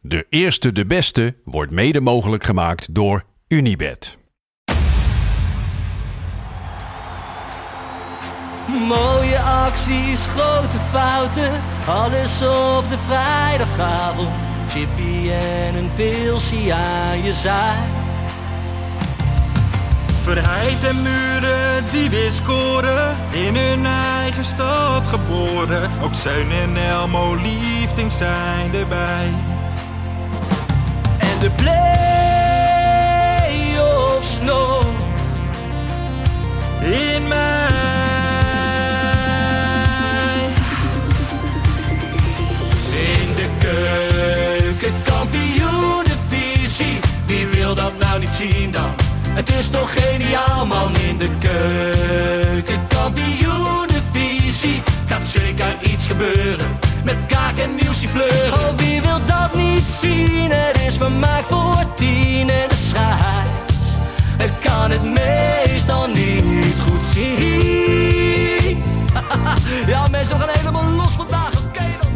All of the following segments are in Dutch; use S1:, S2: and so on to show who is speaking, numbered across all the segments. S1: De eerste, de beste wordt mede mogelijk gemaakt door Unibed.
S2: Mooie acties, grote fouten, alles op de vrijdagavond. Chippy en een pilsie aan je zaai.
S3: Verheid en muren die weer scoren, in hun eigen stad geboren. Ook Zijn en Elmo liefding zijn erbij.
S2: En de play-offs nog.
S3: In mij.
S2: In de keuken, kampioenenvisie. Wie wil dat nou niet zien dan? Het is toch geniaal man in de keuken, kampioenenvisie. Gaat zeker iets gebeuren met kaak en nieuwsie fleuren. Oh, wie wil dat niet zien? Het is vermaakt voor tien en de scheids. Ik kan het meestal niet goed zien. ja mensen, we gaan helemaal los vandaag, oké dan.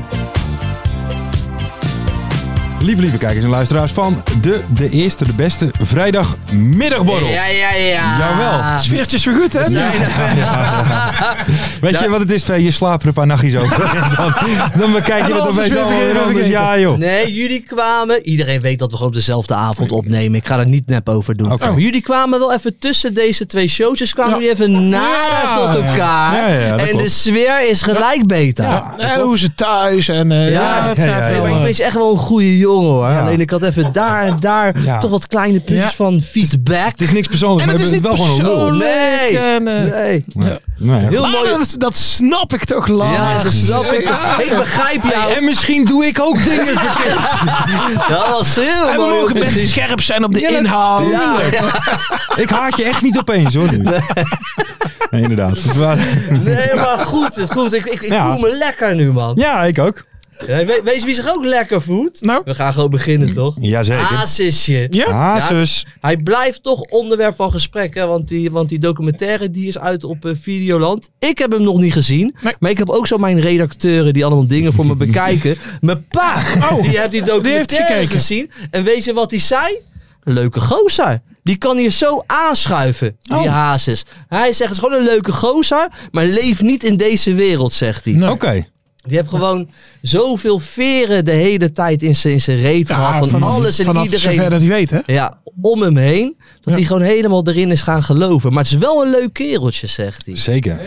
S4: Lieve, lieve kijkers en luisteraars van de, de eerste, de beste vrijdagmiddagborrel.
S5: Ja, ja, ja.
S4: Jawel, sfeertje is weer goed, hè? Ja, ja, ja. Weet je wat het is, Vee? Je slaapt er een paar nachtjes over. En dan, dan bekijk je
S5: En
S4: het
S5: alles
S4: opeens
S5: is weer
S4: allemaal
S5: vergeten,
S4: weer anders.
S5: vergeten.
S4: Ja, joh.
S5: Nee, jullie kwamen. Iedereen weet dat we gewoon op dezelfde avond opnemen. Ik ga er niet nep over doen.
S4: Oké.
S5: Maar jullie kwamen wel even tussen deze twee shows. Dus kwamen jullie even nader
S6: Ja,
S5: tot
S6: ja.
S5: elkaar.
S4: Ja, ja, dat
S5: en de
S4: klopt.
S5: sfeer is gelijk beter.
S6: Ja, en hoe ze thuis en eh,
S5: Ja,
S6: ja, dat
S4: ja,
S6: staat
S4: ja,
S6: wel,
S5: maar ik
S6: eh,
S5: vind je echt wel een goede jongen hoor.
S4: Ja.
S5: Alleen ik had even daar en daar
S4: Ja.
S5: toch wat kleine puntjes
S6: Ja.
S5: van feedback.
S4: Het is niks persoonlijks,
S6: En
S4: maar
S6: het is
S4: we
S6: niet
S4: hebben wel gewoon een lul.
S6: persoonlijk.
S5: Nee,
S6: en, eh,
S5: nee.
S4: Nee.
S5: Heel
S6: maar
S5: mooi.
S6: Nou, dat, dat snap ik toch, Lars?
S5: Ja, dat snap ik.
S6: Ja.
S5: Ik begrijp jou.
S4: En misschien doe ik ook dingen verkeerd.
S5: Dat was heel
S6: En we
S5: mooi.
S6: mogen best scherp zijn op de
S4: Ja, dat-
S6: inhoud.
S5: Ja, ja.
S4: Ik haat je echt niet opeens, hoor. nu. Nee, inderdaad. Het waren-
S5: Nee, maar goed, het is goed. Ik, ik, ik
S4: Ja.
S5: voel me lekker nu, man.
S4: Ja, ik ook.
S5: Hey, we- wees wie zich ook lekker voelt.
S6: Nou,
S5: We gaan gewoon beginnen, toch?
S4: Jazeker.
S5: Basisje.
S6: ja.
S4: Ah, zus.
S5: Hij blijft toch onderwerp van gesprek, hè? Want die, want die documentaire die is uit op eh, Videoland. Ik heb hem nog niet gezien.
S6: Nee.
S5: Maar ik heb ook zo mijn redacteuren die allemaal dingen voor me bekijken. Mijn pa, die heeft die documentaire
S6: gekeken.
S5: gezien. En weet je wat hij zei? Leuke gozer. Die kan hier zo aanschuiven, die
S4: Oh.
S5: hazes. Hij zegt, het is gewoon een leuke gozer, maar leef niet in deze wereld, zegt hij.
S6: Nee.
S4: Oké.
S5: Die heeft gewoon zoveel veren de hele tijd in zijn in zijn reet gehad. Van,
S6: vanaf-
S5: alles en
S6: vanaf
S5: iedereen.
S6: zover dat hij weet, hè?
S5: Ja, om hem heen. Dat
S6: Ja.
S5: hij gewoon helemaal erin is gaan geloven. Maar het is wel een leuk kereltje, zegt hij.
S4: Zeker.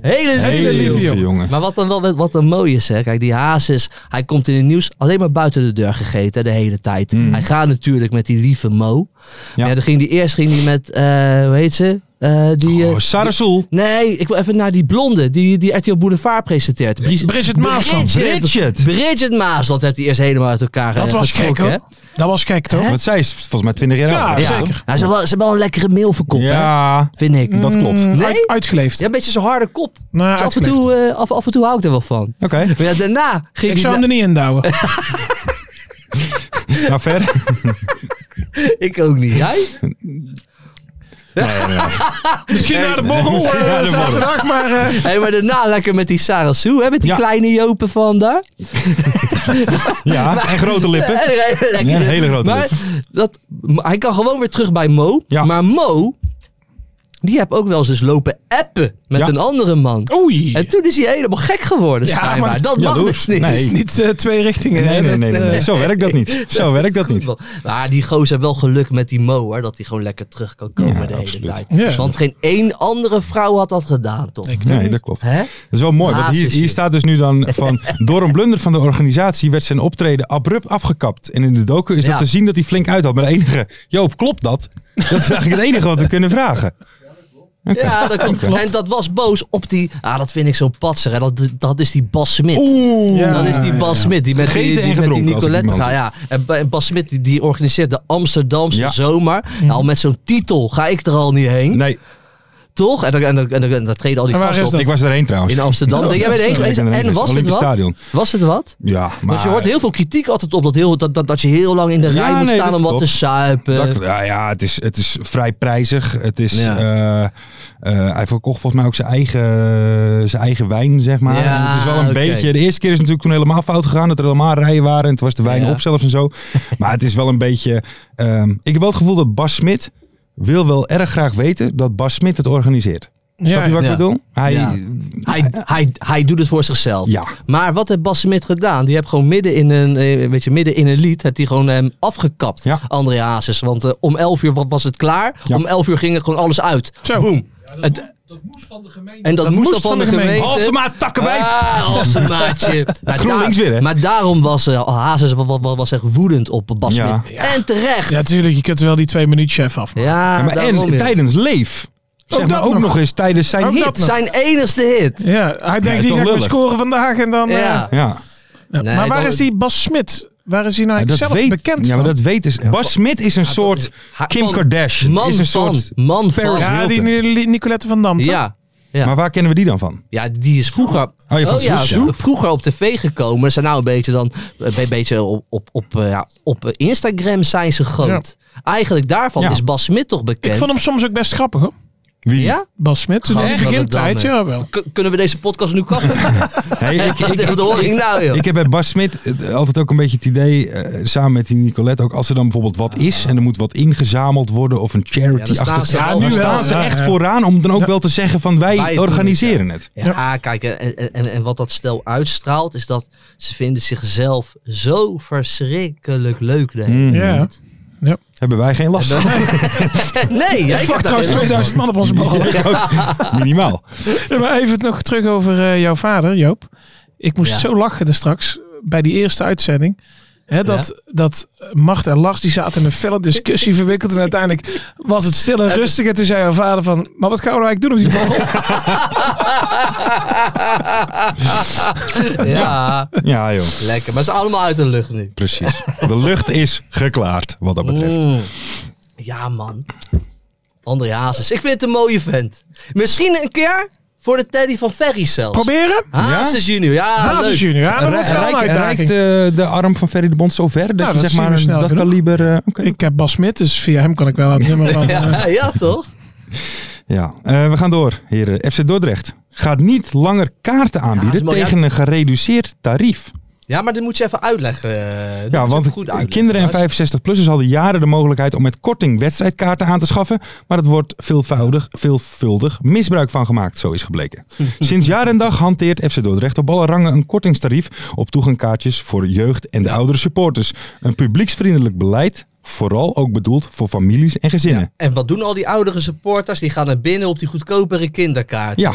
S5: Hele
S4: Hele
S5: lieve jongen.
S4: lieve jongen.
S5: Maar wat dan wel wat dan mooi is, hè? Kijk, die haas is, hij komt in het nieuws alleen maar buiten de deur gegeten hè, de hele tijd. Hij gaat natuurlijk met die lieve Mo.
S4: Ja.
S5: Ja. dan ging die eerst ging die met, eh, hoe heet ze? Eh, die, eh,
S4: Oh, Sarah Soel.
S5: Nee, ik wil even naar die blonde die, die RTL Boulevard presenteert. Bri-
S6: Bridget Maasland.
S5: Bridget, Bridget Maasland heeft hij eerst helemaal uit elkaar
S6: Dat
S5: eh,
S6: was gek,
S5: getrokken,
S6: hoor. Dat was gek, toch?
S4: Want zij is volgens mij 20 jaar
S6: Ja,
S4: oud.
S5: hè? Ja,
S6: zeker. Mm.
S5: Nou, ze hebben wel, ze hebben wel een lekkere mail verkocht, hè?
S4: Ja,
S5: vind ik.
S4: dat klopt. Oké.
S5: Nee?
S6: Uit- uitgeleefd.
S5: Ja, een beetje zo'n harde kop.
S6: Nou,
S5: Dus af, en
S6: uitgeleefd.
S5: toe, eh, af, af en toe hou ik er wel van. Maar ja, daarna ging
S6: Ik
S5: hij...
S6: zou hem
S5: na-
S6: er niet in douwen.
S4: Nou, verder.
S5: Ik ook niet. Jij?
S4: Nee, nee, nee.
S6: Misschien naar de borrel
S4: misschien
S6: eh,
S4: naar de borrel.
S6: zaterdag, maar... eh,
S5: Hé, maar daarna lekker met die Sarah Sue, hè? Met die
S4: Ja.
S5: kleine jopen van daar.
S4: Ja, en grote lippen.
S5: Eh, Lekker.
S4: Ja, hele grote
S5: maar dat, maar hij kan gewoon weer terug bij Mo.
S4: Ja.
S5: Maar Mo, die heb ook wel eens dus lopen appen met
S4: Ja.
S5: een andere man.
S6: Oei.
S5: En toen is hij helemaal gek geworden,
S6: Ja,
S5: schijnbaar.
S6: maar-
S5: dat
S4: ja,
S5: mag
S4: dat
S5: dus
S4: hoeft-
S5: niet.
S4: nee.
S6: Niet eh, twee richtingen.
S4: Nee, nee,
S6: hè?
S4: nee,
S6: Dat,
S4: nee,
S6: eh,
S4: nee. Zo werkt dat niet. Zo werkt dat niet.
S5: Goed, want- Maar die gozer heeft wel geluk met die Mo, hoor. Dat hij gewoon lekker terug kan komen
S4: Ja,
S5: de
S4: absoluut.
S5: hele tijd.
S6: Ja.
S5: Want geen één andere vrouw had dat gedaan, toch?
S4: Nee, dat klopt.
S5: Hè?
S4: Dat is wel mooi, want hier,
S5: Basis,
S4: hier
S5: joh.
S4: staat dus nu dan van... Door een blunder van de organisatie werd zijn optreden abrupt afgekapt. En in de docu is
S5: Ja.
S4: dat te zien dat hij flink uit had. Maar de enige... Joop, klopt dat? Dat is eigenlijk het enige wat we kunnen vragen.
S5: Ja, dat klopt. En dat was boos op die... Ah, dat vind ik zo'n patser. Hè. Dat, dat is die Bas Smit.
S4: Oeh.
S6: Ja,
S5: dat is die Bas Smit. Die met die,
S4: Gegeten en
S5: die, met die
S4: gedronken, als ik
S5: Nicolette
S4: iemand-
S5: gaat. Ja. En, Ba- en Bas Smit die, die organiseert de Amsterdamse
S4: Ja. Mhm.
S5: Zomer. Nou, met zo'n titel ga ik er al niet heen.
S4: Nee,
S5: Toch? En dan, en, dan, en, dan, en dan treden al die
S6: En waar
S5: gasten
S6: is
S5: op.
S4: ik
S6: dat?
S4: was erheen trouwens.
S5: In Amsterdam. Denk jij bent er
S4: Oh,
S5: heen
S4: Ja, ik
S5: geweest?
S4: ben erheen
S5: En
S4: geweest.
S5: was het
S4: Olympisch
S5: wat?
S4: Stadion.
S5: Was het wat?
S4: Ja, maar...
S5: Want Dus je hoort heel veel kritiek altijd op dat, heel, dat, dat, dat je heel lang in de
S4: Ja,
S5: rij moet
S4: nee,
S5: staan
S4: dat
S5: om wat te
S4: klopt.
S5: suipen.
S4: Dat- ja, ja het, is, het is vrij prijzig. Het is,
S5: eh, Ja.
S4: eh, eh, hij verkocht volgens mij ook zijn eigen, zijn eigen wijn, zeg maar.
S5: Ja,
S4: En het is wel een
S5: oké.
S4: beetje... De eerste keer is het natuurlijk toen helemaal fout gegaan. Dat er helemaal rijen waren. En toen was de wijn
S5: Ja.
S4: op zelfs en zo. maar het is wel een beetje... ehm, ik heb wel het gevoel dat Bas Smit wil wel erg graag weten dat Bas Smit het organiseert. Snap je wat
S5: Ja.
S4: ik bedoel? Hij,
S5: Ja.
S4: ja.
S5: Hij, hij, hij doet het voor zichzelf.
S4: Ja.
S5: Maar wat heeft Bas Smit gedaan? Die heeft gewoon midden in een, eh, weet je, midden in een lied heeft hij gewoon hem afgekapt.
S4: Ja.
S5: André Hazes. Want eh, om 11 uur wa- was het klaar.
S4: Ja.
S5: Om 11 uur ging er gewoon alles uit.
S6: Zo.
S5: Boem. Het- en dat, moest dan van de gemeente.
S4: maar takkenwijf!
S5: Ah, als een maatje. Maar,
S4: GroenLinks weer, hè?
S5: maar daarom was eh, Hazes wa- wa- wa- was echt woedend op Bas
S4: Ja.
S5: Smit. En terecht.
S6: Ja,
S5: Ja,
S6: natuurlijk. Je kunt wel die twee minuut chef af.
S4: Ja, maar en
S5: daarom weer.
S4: tijdens Leef. Zeg
S6: Ook
S4: maar
S6: dat
S4: ook
S6: nog.
S4: nog eens tijdens zijn
S6: Ook
S4: hit.
S6: dat nog.
S5: Zijn enigste hit.
S6: Ja, hij
S4: is
S6: denkt, die
S4: toch
S6: ga ik maar
S4: lullig.
S6: scoren vandaag en dan... eh,
S5: Ja.
S4: Ja.
S6: ja.
S5: Nee,
S6: Eh, maar waar
S5: dat-
S6: is die Bas Smit? Waar is hij nou
S4: Ja,
S6: eigenlijk zelf
S4: weet,
S6: bekend
S4: Ja, maar
S6: van?
S4: dat weet is. Bas Smit is een soort
S5: Ha-
S4: Kim
S5: van-
S4: Kardashian.
S5: Man
S4: is een
S5: van.
S4: soort.
S5: man van.
S4: Paris
S5: Ja.
S6: ja,
S4: Hilton.
S6: die Ni- Nicolette van Dam, toch?
S5: Ja.
S4: Maar waar kennen we die dan van?
S5: Ja, die is vroeger,
S4: Oh, je van
S5: ja,
S4: vroeger?
S5: v- vroeger op tv gekomen. Ze zijn nou een beetje, dan, een beetje op, op, op, eh, ja, op eh, Instagram zijn ze groot. Eigenlijk daarvan
S4: Ja.
S5: is Bas Smit toch
S6: Ik
S5: bekend.
S6: vond hem soms ook best grappig, hoor.
S4: Wie?
S5: ja?
S6: Bas Smit, toen
S5: Gaan
S6: in
S5: we
S6: begin
S5: dat dan,
S6: tijd,
S5: eh,
S6: ja wel.
S5: K- kunnen we deze podcast nu kappen?
S4: Nee, ik,
S5: Wat is- wat hoor ik nou, joh?
S4: ik heb bij Bas Smit eh, altijd ook een beetje het idee, eh, samen met die Nicolette, ook als er dan bijvoorbeeld wat is en er moet wat ingezameld worden of een
S5: staan
S4: charity-achtig.
S5: ze wel.
S4: nu
S5: Dan
S4: staan
S5: staan
S4: ze
S6: ze-
S4: echt
S6: ja.
S4: vooraan om dan ook wel te zeggen van wij,
S5: Wij doen het,
S4: organiseren het.
S5: Ja, kijk, eh, en, en, en wat dat stel uitstraalt, is dat ze vinden zichzelf zo verschrikkelijk leuk. de hele
S4: Mhm.
S6: Ja.
S4: Hebben wij geen last van.
S5: Nee, jij hebt
S6: Fuck,
S5: daar
S6: trouwens
S5: geen last van.
S6: 2000 man op onze borrel.
S4: Minimaal.
S6: Ja, maar even nog terug over eh, jouw vader, Joop. Ik moest
S5: Ja.
S6: zo lachen er straks bij die eerste uitzending. Hè, dat, dat Macht en Lars die zaten in een felle discussie verwikkeld. En uiteindelijk was het stil en rustig. En toen zei jouw vader van, maar wat gaan we nou eigenlijk doen op die borrel?
S5: Ja,
S4: Ja joh,
S5: lekker. Maar ze zijn allemaal uit de lucht nu.
S4: precies. De lucht is geklaard wat dat betreft.
S5: Mm. Ja, man. André Hazes. Ik vind het een mooie vent. Misschien een keer voor de Teddy van Ferry zelfs.
S6: Proberen?
S5: Hazes junior. Ja,
S6: Hazes
S5: leuk.
S6: junior. Ja, dat
S4: Rij-
S6: wordt wel een
S4: Reikt
S6: uitdaging.
S4: reikt, eh, de arm van Ferry de Bond zo ver dat
S6: Nou,
S4: je
S6: dat
S4: zeg
S6: zien we
S4: maar een-
S6: snel
S4: dat
S6: genoeg.
S4: kaliber... eh, oké.
S6: Ik heb Bas Smit, dus via hem kan ik wel het nummer van... eh,
S5: Ja, ja, toch?
S4: Ja, eh, we gaan door, heren. FC Dordrecht gaat niet langer kaarten
S5: dat is
S4: aanbieden
S5: mooi,
S4: tegen een gereduceerd tarief.
S5: Ja, maar dit moet je even uitleggen. eh, dit
S4: Ja,
S5: moet je
S4: want
S5: even goed uitleggen.
S4: kinderen
S5: Lars.
S4: en 65-plussers hadden jaren de mogelijkheid om met korting wedstrijdkaarten aan te schaffen. Maar dat wordt veelvoudig, veelvuldig misbruik van gemaakt, zo is gebleken. Sinds jaar en dag hanteert FC Dordrecht op alle rangen een kortingstarief op toegangkaartjes voor jeugd en de oudere supporters. Een publieksvriendelijk beleid, vooral ook bedoeld voor families en gezinnen.
S5: En wat doen al die oudere supporters? Die gaan naar binnen op die goedkopere kinderkaart.
S4: Ja,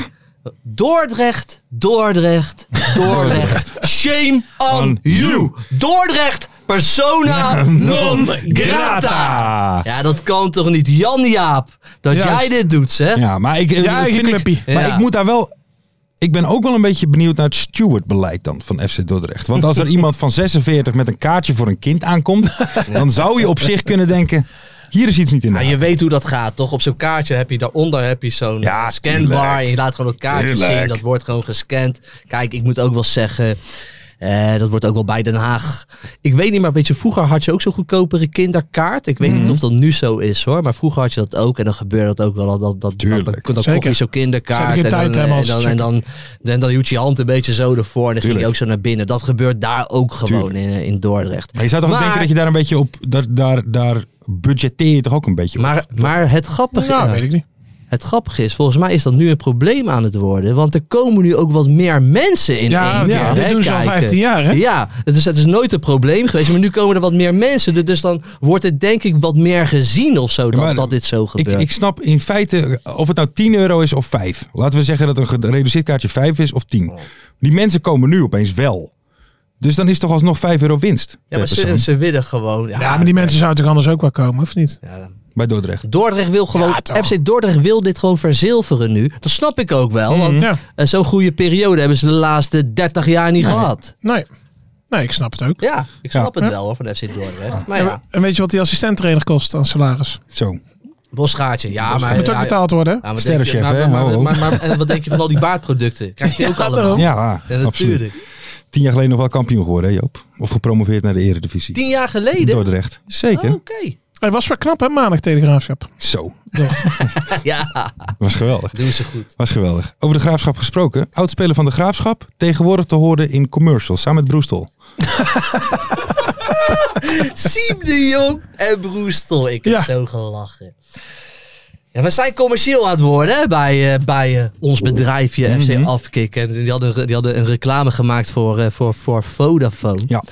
S5: Dordrecht, Dordrecht, Dordrecht. Shame on
S4: On
S5: you. Dordrecht, persona non grata. Ja, dat kan toch niet, Jan Jaap, dat
S6: Juist.
S5: jij dit doet, zeg.
S4: Ja, maar ik, eh,
S6: Ja,
S4: vind
S6: eigen
S4: ik-
S6: clubpie.
S4: maar
S5: Ja.
S4: ik moet daar wel. Ik ben ook wel een beetje benieuwd naar het stewardbeleid dan van FC Dordrecht. Want als er iemand van 46 met een kaartje voor een kind aankomt, dan zou je op zich kunnen denken: hier is iets niet in de
S5: Ja, je
S4: hand.
S5: weet hoe dat gaat, toch? Op zo'n kaartje heb je daaronder heb je zo'n
S4: Ja,
S5: eh, scanbar.
S4: tuurlijk.
S5: En je laat gewoon dat kaartje
S4: Tuurlijk.
S5: zien. Dat wordt gewoon gescand. Kijk, ik moet ook wel zeggen. eh, dat wordt ook wel bij Den Haag. Ik weet niet, maar weet je, vroeger had je ook zo'n goedkopere kinderkaart. Ik weet
S4: Mhm.
S5: niet of dat nu zo is hoor. Maar vroeger had je dat ook. En dan gebeurde dat ook wel. Dat, dat, dat,
S4: Tuurlijk.
S5: dat, dat
S6: Zeker.
S5: kocht je zo'n
S6: Zou
S5: kinderkaart.
S6: je geen
S5: En dan,
S6: tijd
S5: eh, en,
S6: hebben
S5: dan,
S6: als
S5: en, dan,
S6: checker.
S5: dan- dan hield je je hand een beetje zo ervoor. En dan ging je
S4: Tuurlijk.
S5: ook zo naar binnen. Dat gebeurt daar ook gewoon in, eh, in Dordrecht.
S4: Maar je zou toch
S5: Maar-
S4: denken dat je daar een beetje op. Daar, daar, daar budgetteer je toch ook een beetje op.
S5: Maar, maar het grappige
S6: nou,
S5: ja.
S6: weet ik niet.
S5: Het grappige is, volgens mij is dat nu een probleem aan het worden. Want er komen nu ook wat meer mensen in
S6: Ja,
S5: één
S6: ja,
S5: keer.
S6: dit
S5: hè,
S6: doen ze al
S5: kijken.
S6: 15 jaar, hè?
S5: Ja, dus het is nooit een probleem geweest. Maar nu komen er wat meer mensen. Du- Dus dan wordt het denk ik wat meer gezien of zo, dat,
S4: maar
S5: dat dit zo
S4: ik,
S5: gebeurt.
S4: ik snap in feite of het nou 10 euro is of 5. Laten we zeggen dat een gereduceerd kaartje 5 is of 10. Die mensen komen nu opeens wel. Dus dan is toch alsnog 5 euro winst.
S5: ja, maar
S4: per persoon.
S5: ze, ze willen gewoon... Ja,
S6: Ja, maar die mensen zouden toch anders ook wel komen, of niet?
S5: ja,
S4: bij Dordrecht.
S5: Dordrecht wil gewoon,
S6: Ja, toch.
S5: FC Dordrecht wil dit gewoon verzilveren nu. Dat snap ik ook wel, want
S6: Mm. Ja.
S5: eh, zo'n goede periode hebben ze de laatste 30 jaar niet gehad.
S6: Nee. nee, ik snap het ook.
S5: Ja, ik snap
S6: Ja.
S5: het wel hoor, van FC Dordrecht. Maar
S6: En
S5: ja,
S6: we- En weet je wat die assistenttrainer kost aan salaris?
S4: Zo.
S5: Bosgaatje. Ja, maar...
S6: Moet ook
S5: ja,
S6: betaald worden. hè?
S5: ja, Ah, maar
S4: Sterrenchef,
S5: denk
S4: hè?
S5: je- maar, maar,
S4: Hallo.
S5: maar, maar, maar- en wat denk je van al die baardproducten? Krijg je ook
S6: Ja,
S5: allemaal?
S6: daarom.
S4: Ja,
S5: Ja,
S4: absoluut.
S5: natuurlijk.
S4: Tien jaar geleden nog wel kampioen geworden, hè, Joop? Of gepromoveerd naar de eredivisie.
S5: Tien jaar geleden? Oh.
S4: Dordrecht.
S5: Oké.
S4: Zeker.
S6: Hij was wel knap, hè? Maandag Telegraafschap.
S4: Zo.
S5: Ja,
S4: Was geweldig.
S5: doen ze goed.
S4: Was geweldig. Over de graafschap gesproken. Oudspeler van de graafschap. Tegenwoordig te horen in commercials. Samen met Broestel.
S5: Siem de Jong en Broestel. Ik heb
S6: Ja.
S5: zo gelachen. Ja, we zijn commercieel aan het worden hè, bij, eh, bij eh, ons bedrijfje
S4: Mhm.
S5: FC Afkik. En die hadden, die hadden een reclame gemaakt voor, eh, voor, voor Vodafone.
S4: Ja.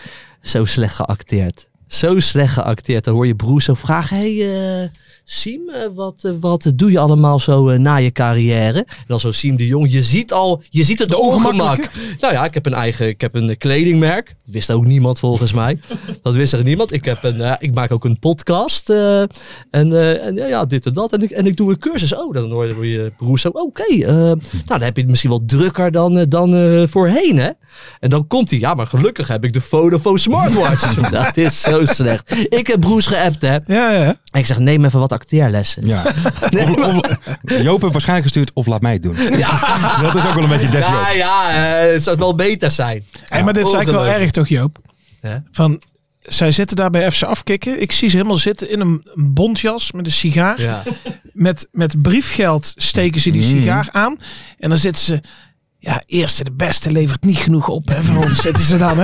S5: Zo slecht geacteerd. Zo slecht geacteerd. Dan hoor je broer zo vragen. Hey, eh, Siem, eh, wat, eh, wat doe je allemaal zo eh, na je carrière? En dan zo Siem de Jong. Je ziet al, je ziet het ongemak. Nou ja, ik heb een eigen, ik heb een eh, kledingmerk. Dat wist ook niemand volgens mij. Dat wist er niemand. Ik, heb een, eh, ik maak ook een podcast. eh, en eh, en ja, ja, dit en dat. En ik, en ik doe een cursus. Oh, dan hoor je- hoor je broer zo. Oké, eh, nou dan heb je het misschien wel drukker dan, eh, dan eh, voorheen hè. En dan komt hij. Ja, maar gelukkig heb ik de Vodafone smartwatch. dat is zo slecht. Ik heb broers geappt hè.
S6: Ja, ja, ja.
S5: En ik zeg neem even wat acteerlessen.
S4: Ja.
S5: Nee, maar-
S4: Joop heeft waarschijnlijk gestuurd of laat mij het doen.
S5: ja,
S4: Dat is ook wel een beetje death
S5: ja,
S4: Joop.
S5: ja eh, het zou wel beter zijn.
S6: Hey, maar dit is eigenlijk wel
S5: Ongelooflijk.
S6: erg, toch, Joop?
S5: Ja.
S6: Van, zij zitten daar bij FC afkicken. Ik zie ze helemaal zitten in een een bontjas met een sigaar.
S5: Ja. Mm.
S6: Met, met briefgeld steken ze die sigaar aan. En dan zitten ze... Ja, eerste de beste levert niet genoeg op. Hè, voor ons zitten ze dan, hè?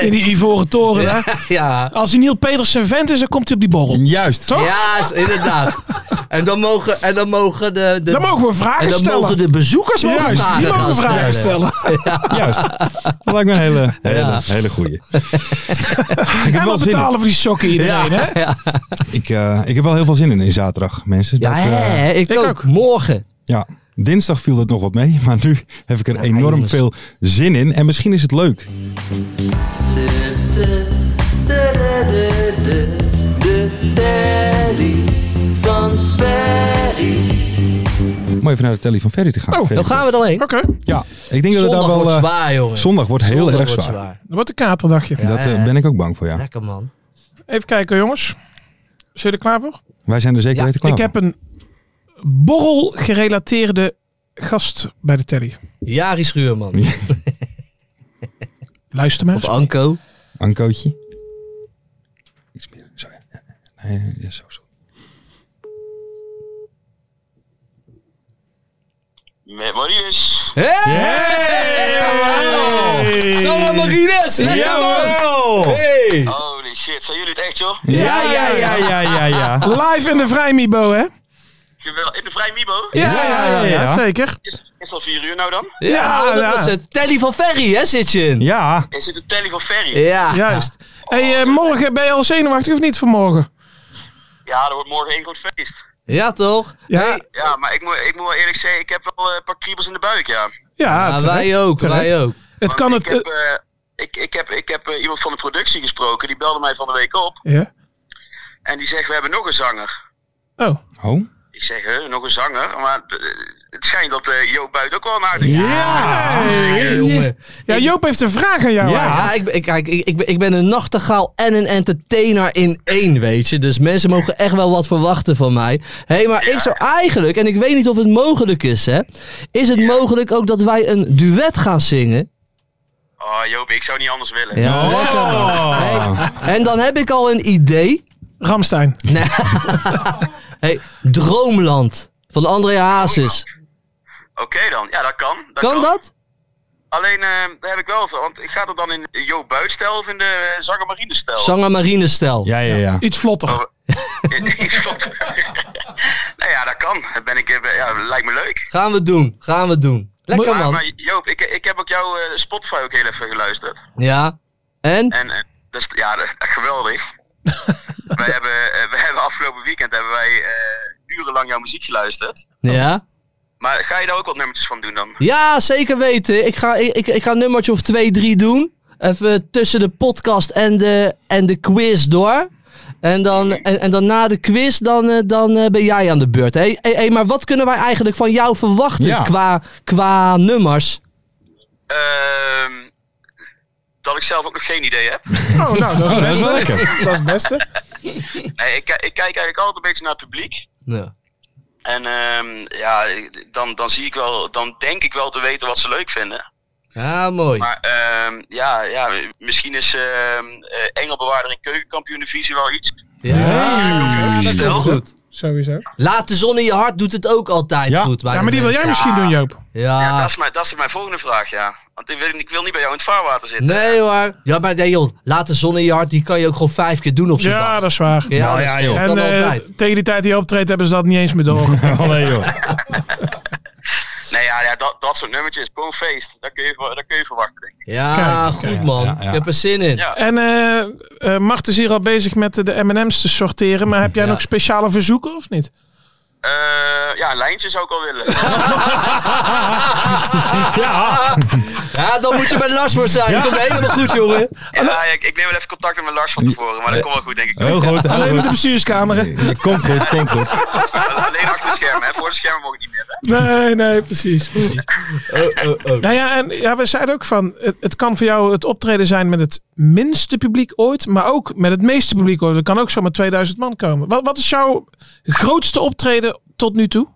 S6: In die ivoren toren, hè?
S5: ja.
S6: Als die Neil Petersen vent is, dan komt hij op die borrel.
S4: Juist. Toch?
S5: Ja, is- inderdaad. En dan mogen, en dan mogen de, de,
S6: Dan mogen we
S5: en
S6: vragen
S5: dan
S6: stellen.
S5: mogen de bezoekers mogen
S6: Juist,
S5: vragen,
S6: die
S5: gaan
S6: mogen vragen stellen.
S4: Juist. Dat lijkt me een hele, hele,
S5: Ja.
S4: hele goeie. ik, heb wel
S6: En we
S4: zin in.
S6: betalen voor die sokken iedereen, hè?
S4: Ik, eh, ik heb wel heel veel zin in, in zaterdag, mensen.
S5: Ja,
S4: Dat, eh,
S5: hè, ik,
S6: ik
S5: ook.
S6: ook.
S5: Morgen.
S4: ja. Dinsdag viel dat nog wat mee, maar nu heb ik er enorm
S5: jongens.
S4: veel zin in. En misschien is het leuk. Om even naar de telly van Ferry te gaan.
S6: Oh,
S4: Ferry
S5: Dan gaan we dan heen.
S6: Oké,
S4: Ja, ik denk dat
S5: Zondag
S4: het daar
S5: wordt
S4: wel... eh,
S5: zwaar, jongen.
S4: zondag wordt heel
S5: Zondag
S4: erg
S5: wordt
S4: zwaar.
S6: dat wordt een katerdagje.
S4: Dat eh,
S5: Ja.
S4: ben ik ook bang voor, ja.
S5: Lekker man.
S6: Even kijken, jongens. Zijn jullie er klaar voor?
S4: Wij zijn er zeker
S5: Ja,
S4: weten klaar
S6: Ik heb een borrel-gerelateerde gast bij de telly.
S5: Jari Schuurman.
S6: Luister maar.
S5: Of
S6: eens.
S5: Anko.
S4: voor. Ankootje. Iets meer. Zo, ja. Ja, ja. Nee, ja, zo, zo.
S7: Met Marius.
S5: Hey! Hey! Sanne Marines! Lekker man! Hey!
S7: Holy shit, zijn jullie het echt joh?
S4: Ja, ja, ja, ja, ja, ja.
S6: Live in de Vrijmibo, hè?
S7: Gewel- In de Vrij Mibo?
S4: Ja, ja, ja, ja.
S6: Zeker.
S7: Is, is al 4 uur nou dan?
S5: Ja, dat
S6: ja.
S5: was het. Telly van Ferry, hè, zit je in?
S4: Ja,
S7: Is het een telly van Ferry?
S5: Ja.
S6: Juist. hey, eh, morgen ben je al zenuwachtig of niet vanmorgen?
S7: Ja, er wordt morgen één groot feest.
S5: Ja, toch?
S6: Ja,
S7: Ja, maar ik moet, ik moet wel eerlijk zeggen, ik heb wel eh, een paar kriebels in de buik, ja.
S6: ja,
S5: Ja,
S6: terecht,
S5: Ah, wij ook,
S6: terecht.
S5: wij ook.
S6: Het
S7: Want
S6: kan
S7: ik
S6: het...
S7: Heb, eh, ik, ik heb, ik heb eh, iemand van de productie gesproken, die belde mij van de week op.
S6: eh, ja.
S7: En die zegt, we hebben nog een zanger.
S6: Oh,
S4: Oh.
S7: Ik zeg, huh, nog een zanger? Maar eh, het schijnt dat eh Joop Buit ook wel een aardige...
S4: Ja.
S5: Hey, Ah, jongen.
S6: ja, Joop heeft een vraag aan jou.
S5: Ja,
S6: eigenlijk.
S5: ik, ben- ik, kijk, ik, ik, ben- ik ben een nachtegaal en een entertainer in één, weet je. Dus mensen mogen echt wel wat verwachten van mij. Hé, hey, maar ik zou eigenlijk, en ik weet niet of het mogelijk is, hè. Is het mogelijk ook dat wij een duet gaan zingen?
S7: Oh Joop, ik zou niet anders willen.
S6: Oh.
S5: Ja, lekker man. Hey, en dan heb ik al een idee.
S6: Ramstein.
S5: Hey, Droomland van André Hazes.
S7: Oké dan, ja dat kan. Dat
S5: Kan dat?
S7: Alleen, eh, daar heb ik wel van, want ik ga dat dan in Joop Buitstijl of in de uh, Zanger Marine stijl?
S5: Zanger Marine stel.
S4: Ja, ja, ja.
S6: Iets vlotter.
S7: Iets klopt. Oh, nou ja, dat kan. Dat ben ik, eh, ja, lijkt me leuk.
S5: Gaan we doen, gaan we doen. Lekker
S7: Maar, maar
S5: man.
S7: Joop, ik, ik heb ook jouw eh, Spotify ook heel even geluisterd.
S5: Ja. En?
S7: En eh, dat is, ja, dat is echt geweldig. wij, hebben, eh, wij hebben afgelopen weekend hebben wij eh, urenlang jouw muziek geluisterd.
S5: Ja.
S7: Maar ga je daar ook wat nummertjes van doen dan?
S5: Ja, zeker weten. Ik ga, ik, ik ga een nummertje of twee, drie doen. Even tussen de podcast en de, en de quiz door. En dan, en, en dan na de quiz, dan, eh, dan eh, ben jij aan de beurt. Hé, hey, maar wat kunnen wij eigenlijk van jou verwachten
S4: Ja.
S5: qua, qua nummers?
S7: Ehm, dat ik zelf ook nog geen idee heb.
S6: Oh, nou, dat is,
S4: Oh, dat
S6: best
S4: is wel lekker.
S6: Dat is het beste.
S7: Nee, ik, ki- ik kijk eigenlijk altijd een beetje naar het publiek. En ehm, ja, dan, dan zie ik wel, dan denk ik wel te weten wat ze leuk vinden.
S5: Ja, mooi.
S7: Maar ehm, ja, ja, misschien is ehm eh, Engelbewaarder in keukenkampioen-divisie wel iets.
S5: Ja, dat komt goed.
S6: Sowieso.
S5: Laat de zon in je hart doet het ook altijd
S4: Ja.
S5: goed. bij
S6: Ja,
S5: de
S6: maar die wil jij
S5: mensen.
S6: misschien doen, Joop.
S7: Ja, dat
S5: Ja.
S7: is, mijn, dat is mijn volgende vraag, ja. Want ik wil, ik wil niet bij jou in het vaarwater zitten.
S5: Nee hoor. Ja, maar nee, joh. Laat de zon in je hart, die kan je ook gewoon vijf keer doen op zo'n
S6: Ja,
S5: dag.
S6: dat is waar.
S5: Ja,
S4: Nou
S5: dat
S4: ja,
S5: is-
S4: joh.
S5: dat
S6: En
S5: kan
S6: eh,
S5: altijd.
S6: tegen die tijd die je optreedt hebben ze dat niet eens meer door.
S4: Allee Oh, joh.
S7: Nee, ja, ja dat, dat soort nummertjes. Gewoon feest. Dat kun je, ver- dat kun je verwachten, denk ik.
S5: Ja,
S6: Kijk.
S5: goed man.
S4: Ja, ja.
S5: Ik heb er zin in.
S7: Ja.
S6: En eh eh, Mart is hier al bezig met de- de M&M's te sorteren. Maar heb jij
S5: Ja.
S6: nog speciale verzoeken of niet?
S7: Eh, ja, een lijntje zou ik al willen.
S5: Ja. dan moet je bij Lars voor zijn. Dat komt helemaal goed, jongen.
S7: ja, ik, ik neem wel even contact met Lars van tevoren, maar dat komt wel goed, denk ik.
S4: Heel goed, heel
S6: Alleen met de
S4: goed.
S6: bestuurskamer. hè?
S4: Ja, Komt goed, komt goed.
S7: Alleen achter de schermen, hè. Voor de schermen mogen niet meer, hè.
S6: Nee, nee, precies. precies.
S5: Oh, oh, oh.
S6: Nou ja, en ja, we zeiden ook van, het, het kan voor jou het optreden zijn met het minste publiek ooit, maar ook met het meeste publiek ooit. Er kan ook zomaar 2000 man komen. Wat, wat is jouw grootste optreden tot nu toe?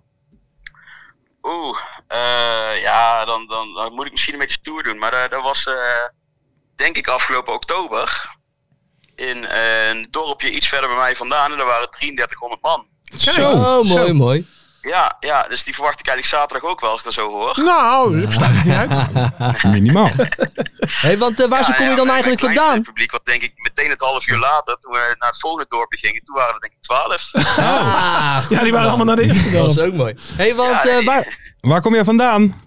S7: Oeh, eh, ja, dan, dan, dan moet ik misschien een beetje stoer doen. Maar eh, dat was, eh, denk ik, afgelopen oktober. In eh, een dorpje iets verder bij mij vandaan. En daar waren 3300 man.
S4: Zo.
S5: Oh, mooi,
S6: zo.
S5: mooi.
S7: Ja, ja, dus die verwacht ik eigenlijk zaterdag ook wel, als ik dat zo
S5: Hm,
S7: hoor.
S6: Nou, ik sluit het niet uit.
S4: Minimaal.
S5: hey, want eh, waar
S7: Ja,
S5: ze kom
S7: ja,
S5: je dan
S7: mijn-
S5: eigenlijk
S7: mijn
S5: vandaan?
S7: kleinste publiek, wat denk ik meteen het half uur later, toen we naar het volgende dorpje gingen, toen waren er denk ik 12.
S5: Ah, goed,
S6: Ja, die waren
S5: man.
S6: allemaal naar de eerste
S5: Dat
S6: dorp.
S5: is ook mooi. hey, want
S7: Ja,
S5: eh,
S7: die-
S5: waar...
S4: Waar kom jij vandaan?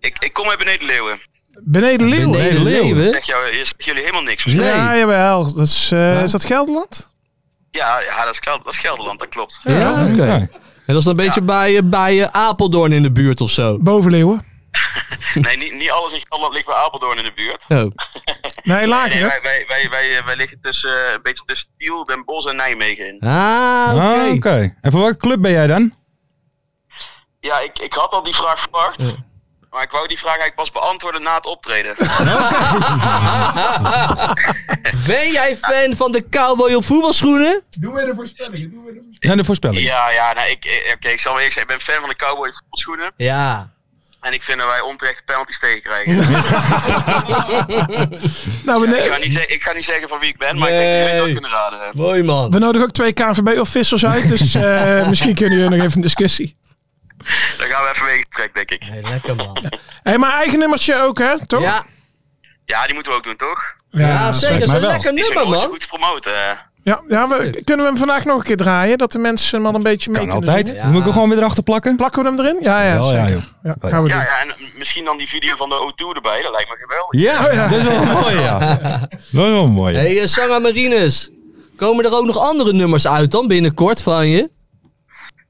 S7: ik, ik kom uit beneden Leeuwen.
S6: Beneden Leeuwen.
S5: Beneden Leeuwen?
S7: Zeg, jou, hier zeg jullie helemaal niks.
S5: Nee.
S6: Ja, jawel. Dat is, eh, is dat Gelderland?
S7: Ja, ja dat, is Geld, dat is Gelderland, dat klopt.
S5: Ja, oké.
S4: Ja.
S5: En dat is dan een beetje bij, eh, bij eh, Apeldoorn in de buurt of zo.
S6: Boven Leeuwen.
S7: Nee, niet, niet alles in Gelderland ligt bij Apeldoorn in de buurt.
S5: Oh.
S6: Nee,
S7: Nee,
S6: lager hè?
S7: wij, wij, wij, wij, wij liggen tussen, eh, een beetje tussen Tiel, Den Bosch en Nijmegen in.
S5: Ah, oké.
S4: Ah, Oké. En voor welke club ben jij dan?
S7: Ja, ik, ik had al die vraag verwacht. Maar ik wou die vraag eigenlijk pas beantwoorden na het optreden.
S5: Ben jij fan van de cowboy op voetbalschoenen?
S4: Ja, de voorspelling.
S7: ja, ja, nou, ik, eh, oké, ik zal wel eerlijk zijn. Ik ben fan van de Cowboy voetbalschoenen.
S5: Ja.
S7: En ik vind dat wij onterecht penalties tegenkrijgen.
S6: Nou, we,
S7: ik,
S6: ne-
S7: ga niet zeggen, ik ga niet zeggen van wie ik ben, maar ik denk dat jullie dat
S5: Nee.
S7: kunnen raden.
S5: Mooi man.
S6: we nodigen ook twee KNVB-officials uit, dus eh, misschien kunnen jullie nog even een discussie.
S7: Dan gaan we even mee in gesprek, denk ik.
S5: Hey, lekker man.
S6: Hé, maar eigen nummertje ook, hè? Toch?
S5: Ja,
S7: Ja, die moeten we ook doen, toch?
S5: ja, zeker. Dat is
S4: maar
S5: een
S4: wel.
S5: lekker
S7: Die
S5: nummer
S7: zijn nooit zo
S5: man.
S7: goed te promoten. hè.
S6: Ja, ja we, kunnen we hem vandaag nog een keer draaien? Dat de mensen hem al een beetje mee
S4: Kan
S6: kunnen
S4: altijd.
S6: zingen?
S5: Ja.
S4: Moet ik er gewoon weer erachter plakken?
S6: Plakken we hem erin? Ja, Oh, ja.
S4: Wel, ja,
S6: zeker.
S4: joh.
S6: Ja, gaan we
S7: Ja,
S6: doen.
S7: ja, en misschien dan die video van de O2 erbij. Dat lijkt me geweldig.
S4: Ja, dat is wel mooi, ja. Dat is wel mooi.
S5: Hé, hey, eh, Sanna Marines. Komen er ook nog andere nummers uit dan binnenkort van je?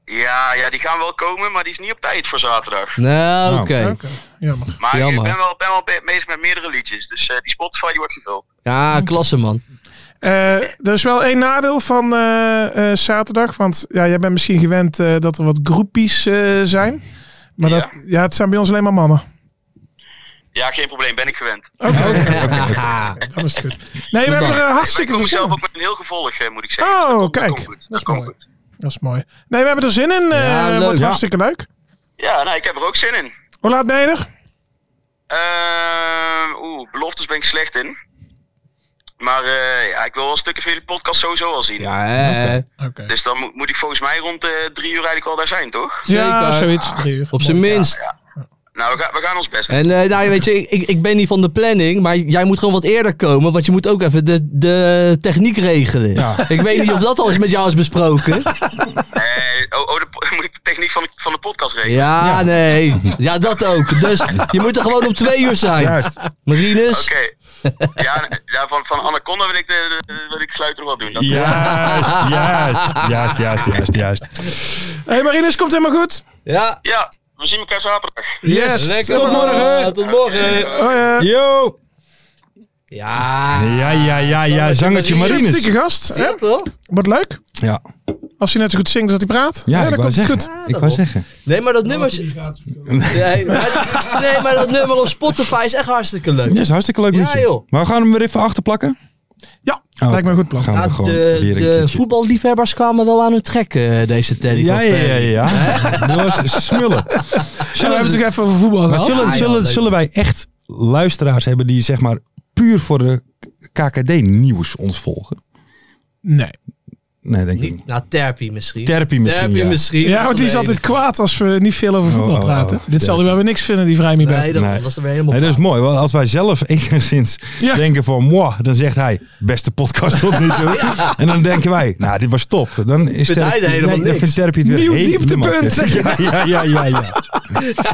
S7: Ja, ja, die gaan wel komen, maar die is niet op tijd voor zaterdag.
S5: Nou,
S4: Nou,
S5: oké.
S6: Oké, jammer.
S7: Maar
S5: Jammer.
S7: ik ben wel, ben wel be- bezig met meerdere liedjes. Dus eh, die Spotify die wordt gevuld.
S5: Ja, klasse man.
S6: Eh, er is wel één nadeel van eh, eh, zaterdag. Want ja, jij bent misschien gewend eh, dat er wat groepies eh, zijn. Maar
S7: Ja.
S6: Dat, ja, het zijn bij ons alleen maar mannen.
S7: Ja, geen probleem. Ben ik gewend. Ik
S6: Oké,
S5: Ah,
S6: dat is goed. Nee, we hebben er eh, hartstikke
S7: kom
S6: veel zin
S7: zelf
S6: in.
S7: ook met een heel gevolg, eh, moet ik zeggen.
S6: Oh,
S7: Dat
S6: kijk.
S7: komt goed.
S6: Dat is
S7: Dat komt
S6: mooi.
S7: goed.
S6: Dat is mooi. Nee, we hebben er zin in. eh,
S5: Ja, leuk.
S6: wordt
S4: Ja.
S6: hartstikke leuk.
S7: Ja, nou, ik heb er ook zin in.
S6: Hoe laat ben je er?
S7: Ehm, Oeh, beloftes ben ik slecht in. Maar eh, ja, ik wil wel stukken van jullie podcast sowieso al zien.
S5: ja, hè.
S7: Dus dan moet, moet ik volgens mij rond eh, drie uur eigenlijk al daar zijn, toch?
S6: Ja,
S5: Zeker.
S6: zoiets. Drie uur.
S5: Op zijn minst.
S7: Nou, we, gaan we gaan ons best doen.
S5: En eh, nou, weet je, ik- ik, ik ben niet van de planning, maar jij moet gewoon wat eerder komen, want je moet ook even de, de techniek regelen.
S4: Ja.
S5: Ik weet niet of dat al eens met jou is besproken.
S7: Eh, oh, oh, de po- moet ik de techniek van de, van de podcast regelen?
S5: Ja, nee. Ja, dat ook. Dus je moet er gewoon om twee uur zijn.
S4: Juist.
S5: Marines.
S7: Oké. Ja, ja, van, van Anaconda wil ik, de, de- wil ik sluiten nog wel doen. Dat-
S4: Juist, juist, juist, juist, juist, juist.
S6: Hé, hey, Marinus, komt helemaal goed.
S5: Ja.
S7: Ja, we zien elkaar zaterdag.
S4: Yes,
S5: Lekker
S4: tot
S5: man.
S6: Oh, eh,
S4: morgen.
S5: Tot morgen.
S6: Hoi, eh.
S4: Yo.
S5: Ja.
S4: Ja, ja, ja, ja, zangertje
S6: Een sympathieke
S4: Marines.
S6: gast. Hè?
S5: Ja, toch?
S6: Wordt leuk.
S4: Ja,
S6: Als hij net zo goed zingt als hij praat.
S4: ja, ik
S6: dan
S4: wou
S6: komt het goed.
S4: zeggen. Ik wou zeggen.
S5: Nee, maar dat nummer... Nee, maar, nee, maar dat nummer op Spotify is echt hartstikke leuk.
S4: Ja, is een hartstikke leuk
S5: Ja,
S4: liedje.
S5: joh.
S4: Maar we gaan hem weer even achterplakken.
S6: Ja,
S4: Oh,
S6: lijkt me een goed plan.
S4: Gaan we
S5: Ja,
S4: gewoon
S5: de
S4: weer een
S5: de
S4: keertje.
S5: voetballiefhebbers kwamen wel aan hun trek, eh, deze Teddy
S4: Ja,
S5: van
S4: ja, ja,
S5: Ferry.
S4: ja. ja. Dat was smullen.
S6: Zullen we hebben het natuurlijk even over voetbal
S4: Maar
S6: gehad.
S4: zullen,
S5: Ah, ja,
S4: zullen,
S5: leuk.
S4: zullen wij echt luisteraars hebben die zeg maar puur voor de KKD-nieuws ons volgen?
S6: Nee.
S4: Nee, denk ik
S5: Niet,
S4: niet.
S5: nou, Terpie misschien.
S4: Therapie misschien,
S5: Terpie
S4: ja.
S5: misschien.
S6: Ja, want die is
S5: Nee,
S6: altijd kwaad als we niet veel over voetbal
S4: Oh, oh,
S6: praten.
S4: oh.
S6: Dit zal hij wel weer niks vinden, die vrij mee
S5: Nee, dat
S4: Nee.
S5: was er weer helemaal
S4: Nee, dat is
S5: klaar.
S4: mooi, want als wij zelf enigszins
S6: Ja.
S4: denken van moi, dan zegt hij beste podcast tot nu toe. En dan denken wij, nou dit was top. Dan is
S5: Vindt hij
S4: therapie-
S5: er helemaal
S4: nee, dan
S5: niks.
S4: vindt therapie het weer
S6: Nieuw
S4: helemaal
S6: dieptepunt,
S4: kut.
S6: zeg je.
S4: Ja, ja, ja, ja. ja.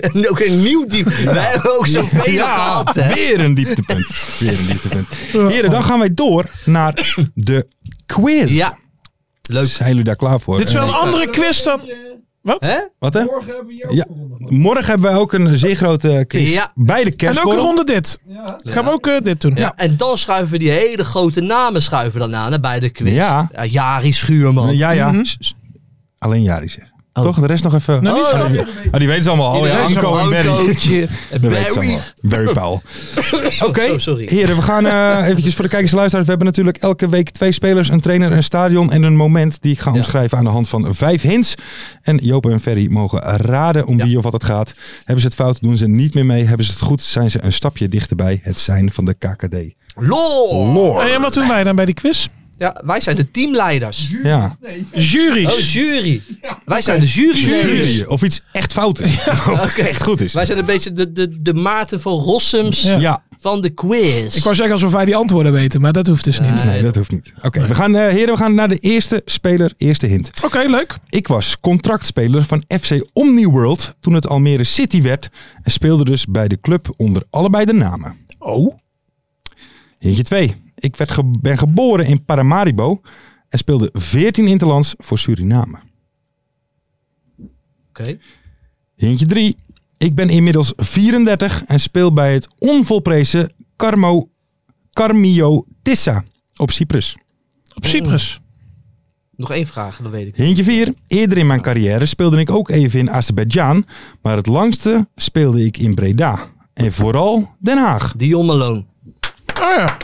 S5: En ook een nieuw diep. Wij hebben ook zoveel gehad, hè.
S4: weer een dieptepunt. Weer een dieptepunt. Heren, dan gaan wij door naar de quiz.
S5: Ja. Leuk.
S4: Zijn jullie daar klaar voor?
S6: Dit is wel
S4: Eh,
S6: een andere quiz dan... Wat?
S5: Hè?
S4: Wat hè? Morgen hebben we ja. Morgen hebben wij ook een zeer grote quiz.
S5: Ja.
S4: Bij de
S6: En ook een
S4: kerstborrel.
S6: ronde dit. Gaan we ook eh, dit doen?
S5: Ja. En dan schuiven we die hele grote namen schuiven dan aan hè, bij de quiz.
S4: Ja.
S5: Jari Schuurman.
S4: Ja, ja. S- s- Alleen Jari zegt. Toch? De rest nog even.
S6: Nou, die
S4: oh,
S6: is wel-
S4: die, oh, die weten ze allemaal. Oh, ja,
S5: Iedereen
S4: Anko
S5: zo'n
S4: en Barry.
S5: Ankootje. En
S4: Dat weten ze
S5: Barry.
S4: allemaal. Barry Powell.
S5: Oké. Oh, sorry.
S4: Heren, we gaan eh, eventjes voor de kijkers en luisteraars. We hebben natuurlijk elke week twee spelers, een trainer, een stadion en een moment. Die ik ga
S5: Ja.
S4: omschrijven aan de hand van vijf hints. En Joop en Ferry mogen raden om
S5: Ja.
S4: wie of wat het gaat. Hebben ze het fout, doen ze niet meer mee. Hebben ze het goed, zijn ze een stapje dichterbij het zijn van de KKD.
S5: Lol.
S4: Lord.
S6: En wat doen wij dan bij die quiz?
S5: Ja, wij zijn de teamleiders.
S4: Ja.
S5: Oh,
S6: Juries.
S5: jury. Wij zijn de juryleiders.
S4: Jury. Of iets echt fout is. Of
S5: Oké.
S4: echt goed is.
S5: Wij zijn een beetje de, de, de Maarten van Rossums
S6: Ja.
S4: Ja.
S5: van de quiz.
S6: Ik wou zeggen alsof wij die antwoorden weten, maar dat hoeft dus niet.
S4: Nee, dat hoeft niet. Oké, we gaan, eh, heren, we gaan naar de eerste speler, eerste hint.
S6: Oké, leuk.
S4: Ik was contractspeler van FC Omniworld toen het Almere City werd en speelde dus bij de club onder allebei de namen.
S6: Oh.
S4: Hintje 2. Ik werd ge- ben geboren in Paramaribo en speelde 14 interlands voor Suriname.
S5: Oké.
S4: Hintje 3. Ik ben inmiddels 34 en speel bij het onvolprezen Carmo, Carmio Tissa op Cyprus.
S6: Op Cyprus.
S5: Nog één vraag, dan weet ik.
S4: Hintje 4. Eerder in mijn carrière speelde ik ook even in Azerbeidzjan, maar het langste speelde ik in Breda. En vooral Den Haag.
S5: Dion Malone.
S6: Oh ja.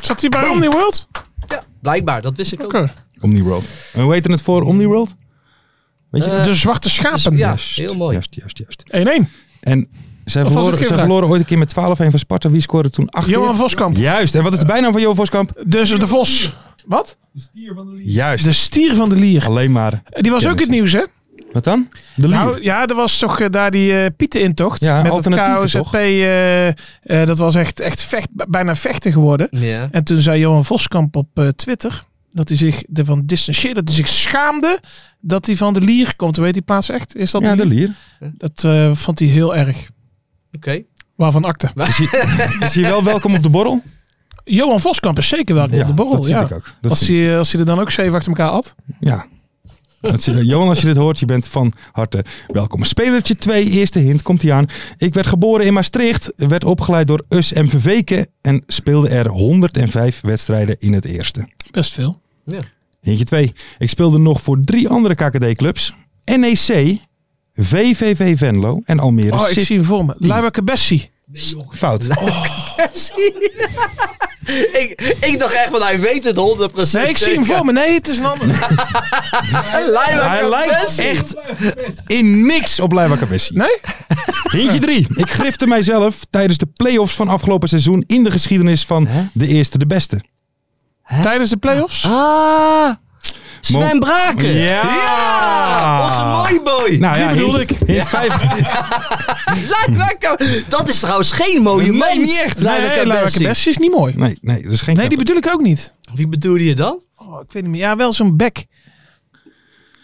S6: Zat hij bij Omni World?
S5: Ja, blijkbaar. Dat wist ik ook.
S6: Oké.
S4: Omniworld. En hoe heet het voor Omniworld? Weet je? dus-
S5: Eh, dus,
S6: De zwarte schapen. 1-1.
S5: Ja, heel mooi.
S4: Juist, juist, juist. En zij
S6: Of was
S4: verloren,
S6: het
S4: zij
S6: Kevra?
S4: verloren ooit een keer met 12-1 van Sparta. Wie scoorde toen 8
S6: Johan Voskamp.
S4: Juist. En wat is de bijnaam van Johan Voskamp?
S6: Dus de Vos. Wat?
S4: Juist.
S6: De stier van de lier. Eh,
S4: Alleen maar.
S6: Die was ook het nieuws, hè?
S4: Wat dan? De Lier.
S6: Nou ja, er was toch eh, daar die eh, Pietenintocht.
S4: Ja,
S6: met het
S4: alternatieven,
S6: KOZP.
S4: toch?
S6: eh, eh, dat was echt, echt vecht, bijna vechten geworden.
S5: Ja.
S6: En toen zei Johan Voskamp op eh, Twitter dat hij zich ervan distancieerde, dat hij zich schaamde dat hij van de Lier komt. Weet die plaats echt? Is dat
S4: ja,
S6: de
S4: de
S6: Lier?
S4: Lier.
S6: Dat eh, vond hij heel erg.
S5: Oké.
S6: Waarvan akte?
S4: Is hij wel welkom op de borrel?
S6: Johan Voskamp is zeker wel op de borrel.
S4: dat vind
S6: ja.
S4: ik ook. Dat
S6: als,
S4: vind ik-
S6: hij, eh, als hij er dan ook zeven achter elkaar had.
S4: Ja. Dat is- Johan, als je dit hoort, je bent van harte welkom. Spelertje 2, eerste hint, komt hij aan. Ik werd geboren in Maastricht, werd opgeleid door US MVV'ken en speelde er 105 wedstrijden in het eerste.
S6: Best veel.
S4: Hintje 2. Ik speelde nog voor drie andere KKD-clubs. NEC, VVV Venlo en Almere
S6: Oh, ik Oh,
S4: City.
S6: zie hem voor me. Luiwa Bessie.
S4: Fout.
S5: ik, ik dacht echt van, hij weet het 100%.
S6: Nee, ik zie hem voor me. Nee, het is een ander.
S5: Hij lijkt,
S4: Hij lijkt echt in niks op Leiva Cabessi.
S6: Nee?
S4: Hintje 3. Ik grifte mijzelf tijdens de play-offs van afgelopen seizoen in de geschiedenis van de eerste de beste.
S6: Tijdens de playoffs?
S5: Ah, Sven
S4: Mo-
S5: Braken.
S4: Ja!
S5: Ja, Onze mooi boy.
S4: Nou
S6: Die bedoelde
S4: hint- Hint 5.
S5: Lijnwerker- Dat is trouwens geen mooie man.
S4: Nee, niet echt.
S6: Nee, Luiwa Bessie is niet mooi.
S4: Nee, nee, dat is geen
S6: Nee, die
S4: grap.
S6: bedoel ik ook niet.
S5: Wie bedoelde je dan?
S6: Oh, ik weet niet meer. Ja, wel zo'n bek.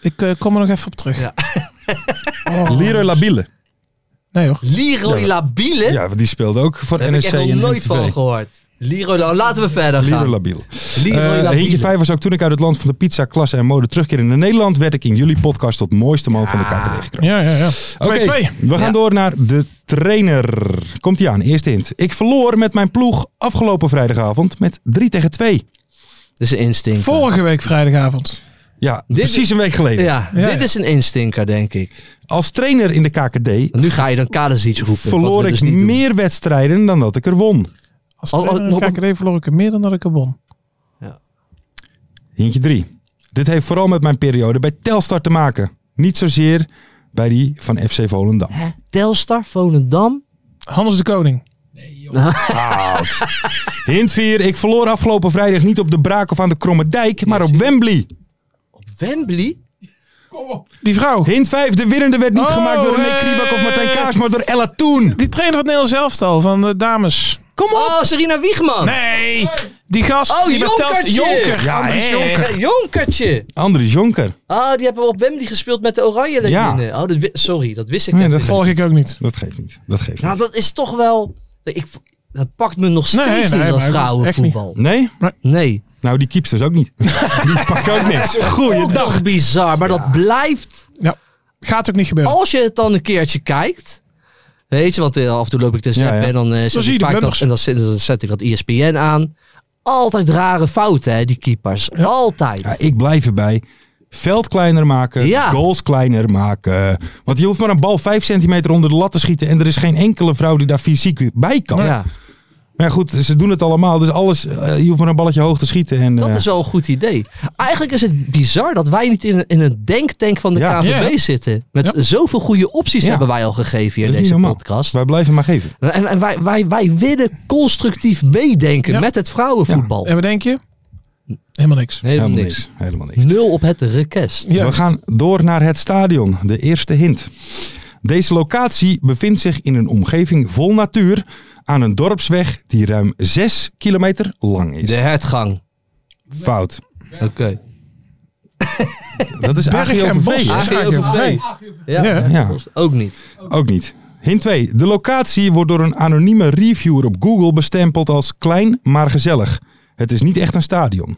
S6: Ik eh, kom er nog even op terug.
S5: Ja.
S6: Oh.
S4: Leroy Labiele.
S6: Nee hoor.
S5: Leroy Labiele?
S4: Ja, want die speelde ook voor
S5: Daar heb
S4: NEC
S5: ik echt nog
S4: en
S5: nooit
S4: NVV.
S5: van gehoord. Liro, dan laten we verder gaan.
S4: Leroy Labiel.
S5: Leroy
S4: Eh,
S5: Labiel.
S4: Eentje 5 was ook toen ik uit het land van de pizza, klasse en mode terugkeerde naar Nederland, werd ik in jullie podcast tot mooiste man van de KKD gekozen.
S6: Ja, ja, ja. 2-2.
S4: Oké, we gaan
S5: Ja.
S4: door naar de trainer. Komt hij aan, eerste hint. Ik verloor met mijn ploeg afgelopen vrijdagavond met 3 tegen 2.
S5: Dit is een instinker.
S6: Vorige week vrijdagavond.
S4: Ja,
S5: Dit-
S4: precies een week geleden.
S5: Ja,
S6: Ja,
S5: dit
S6: ja.
S5: is een instinker, denk ik.
S4: Als trainer in de KKD
S5: Nu ga je dan kaders iets roepen. wat
S4: verloor
S5: we
S4: ik
S5: dus niet doen.
S4: meer wedstrijden dan dat ik er won.
S6: Als
S5: Al- al-
S6: trainer
S5: nog
S6: nog
S5: een-
S6: KKD verloor ik er meer dan dat ik er won.
S4: Hintje 3. Dit heeft vooral met mijn periode bij Telstar te maken. Niet zozeer bij die van FC Volendam.
S5: Hè? Telstar, Volendam.
S6: Hans de Koning.
S4: Hint 4. Ik verloor afgelopen vrijdag niet op de Braak of aan de Kromme Dijk, maar op Wembley.
S5: Wembley?
S6: Die vrouw.
S4: Hint 5. De winnende werd niet
S6: Oh,
S4: gemaakt door René
S6: hey.
S4: Kriebak of Martijn Kaars, maar door Ella Toen.
S6: Die trainer van het Nederlands elftal, van de dames.
S5: Kom op! Oh, Serena Wiegman.
S6: Nee, die gast.
S5: Oh,
S6: die bij Telstar-
S5: Jonkertje.
S6: Jonker.
S4: Ja, hè?
S6: Andries Jonker.
S5: Eh, Jonkertje.
S4: Andries Jonker.
S5: Ah, die hebben we op Wembley gespeeld met de Oranje.
S4: Ja.
S5: Ja. Oh, dat wi- sorry, dat wist ik
S4: Nee,
S5: even
S4: dat
S5: niet.
S6: Volg ik ook niet.
S4: Dat geeft niet. Dat geeft
S5: Nou,
S4: niet.
S5: dat is toch wel... Ik, dat pakt me nog steeds
S6: Nee, nee,
S5: niet, dat
S6: maar
S5: vrouwenvoetbal.
S4: Nee?
S5: Nee.
S4: Nou, die keepsters ook niet. Die pakken ook niks.
S5: Ook
S4: Goeiedag.
S5: nog bizar, maar dat blijft...
S6: Gaat ook niet gebeuren.
S5: Als je het dan een keertje kijkt... Weet je, want eh, af en toe loop ik te
S4: Ja,
S5: zappen
S4: ja.
S5: en dan, eh, zet,
S6: zie je
S5: ik
S6: de
S5: vaak dat,
S6: blunders.
S5: en dan, zet, dan zet ik dat E ESPN aan. Altijd rare fouten, hè, die keepers. Altijd.
S4: Ja, ik blijf erbij. Veld kleiner maken,
S5: Ja.
S4: goals kleiner maken. Want je hoeft maar een bal 5 centimeter onder de lat te schieten. En er is geen enkele vrouw die daar fysiek bij kan.
S5: Ja.
S4: Maar ja, goed, ze doen het allemaal. Dus alles, eh, je hoeft maar een balletje hoog te schieten. En,
S5: Dat
S4: eh,
S5: is wel een goed idee. Eigenlijk is het bizar dat wij niet in een, in een denktank van de
S4: Ja.
S5: KVB
S6: Ja.
S5: zitten. Met
S4: Ja.
S5: zoveel goede opties
S4: Ja.
S5: hebben wij al gegeven hier
S4: dat is
S5: in
S4: niet
S5: deze
S4: normaal.
S5: podcast.
S4: Wij blijven maar geven.
S5: En, en wij, wij, wij willen constructief meedenken
S6: Ja.
S5: met het vrouwenvoetbal.
S6: En wat denk je? Helemaal niks.
S5: Helemaal niks.
S4: Helemaal niks.
S5: Nul op het request.
S6: Ja.
S4: We gaan door naar het stadion. De eerste hint. Deze locatie bevindt zich in een omgeving vol natuur. Aan een dorpsweg die ruim 6 kilometer lang is.
S5: De hertgang.
S4: Fout.
S5: Oké.
S4: Dat is
S6: Berg en
S4: AGOVV.
S6: bos.
S4: hè?
S5: AGOVV. Ja.
S6: Ja.
S4: Ja.
S5: Ook niet.
S4: Ook niet. Hint 2. De locatie wordt door een anonieme reviewer op Google bestempeld als klein maar gezellig. Het is niet echt een stadion.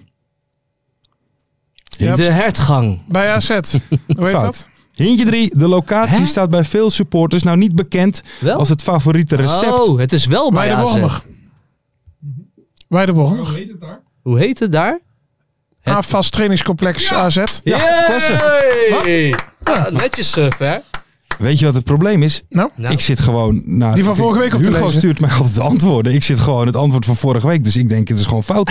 S6: Ja.
S5: De hertgang.
S6: Bij AZ. Hoe heet
S4: Fout.
S6: dat?
S4: Hintje 3. De locatie
S5: Hè?
S4: staat bij veel supporters nou niet bekend
S5: Wel?
S4: als het favoriete recept.
S5: Oh, het is wel bij
S6: Bij de
S5: AZ.
S6: Wormer. Bij de Wormer.
S5: Hoe heet het daar? Het-
S6: AFAS trainingscomplex Dus AZ.
S4: Ja,
S5: Yay!
S4: klasse.
S5: Ja, netjes, eh, surfer.
S4: Weet je wat het probleem is?
S6: Nou,
S5: Nou.
S4: Ik zit gewoon naar...
S6: Die van vorige week op te
S4: Hugo
S6: lezen.
S4: stuurt mij altijd de antwoorden. Ik zit gewoon het antwoord van vorige week. Dus ik denk, het is gewoon fout.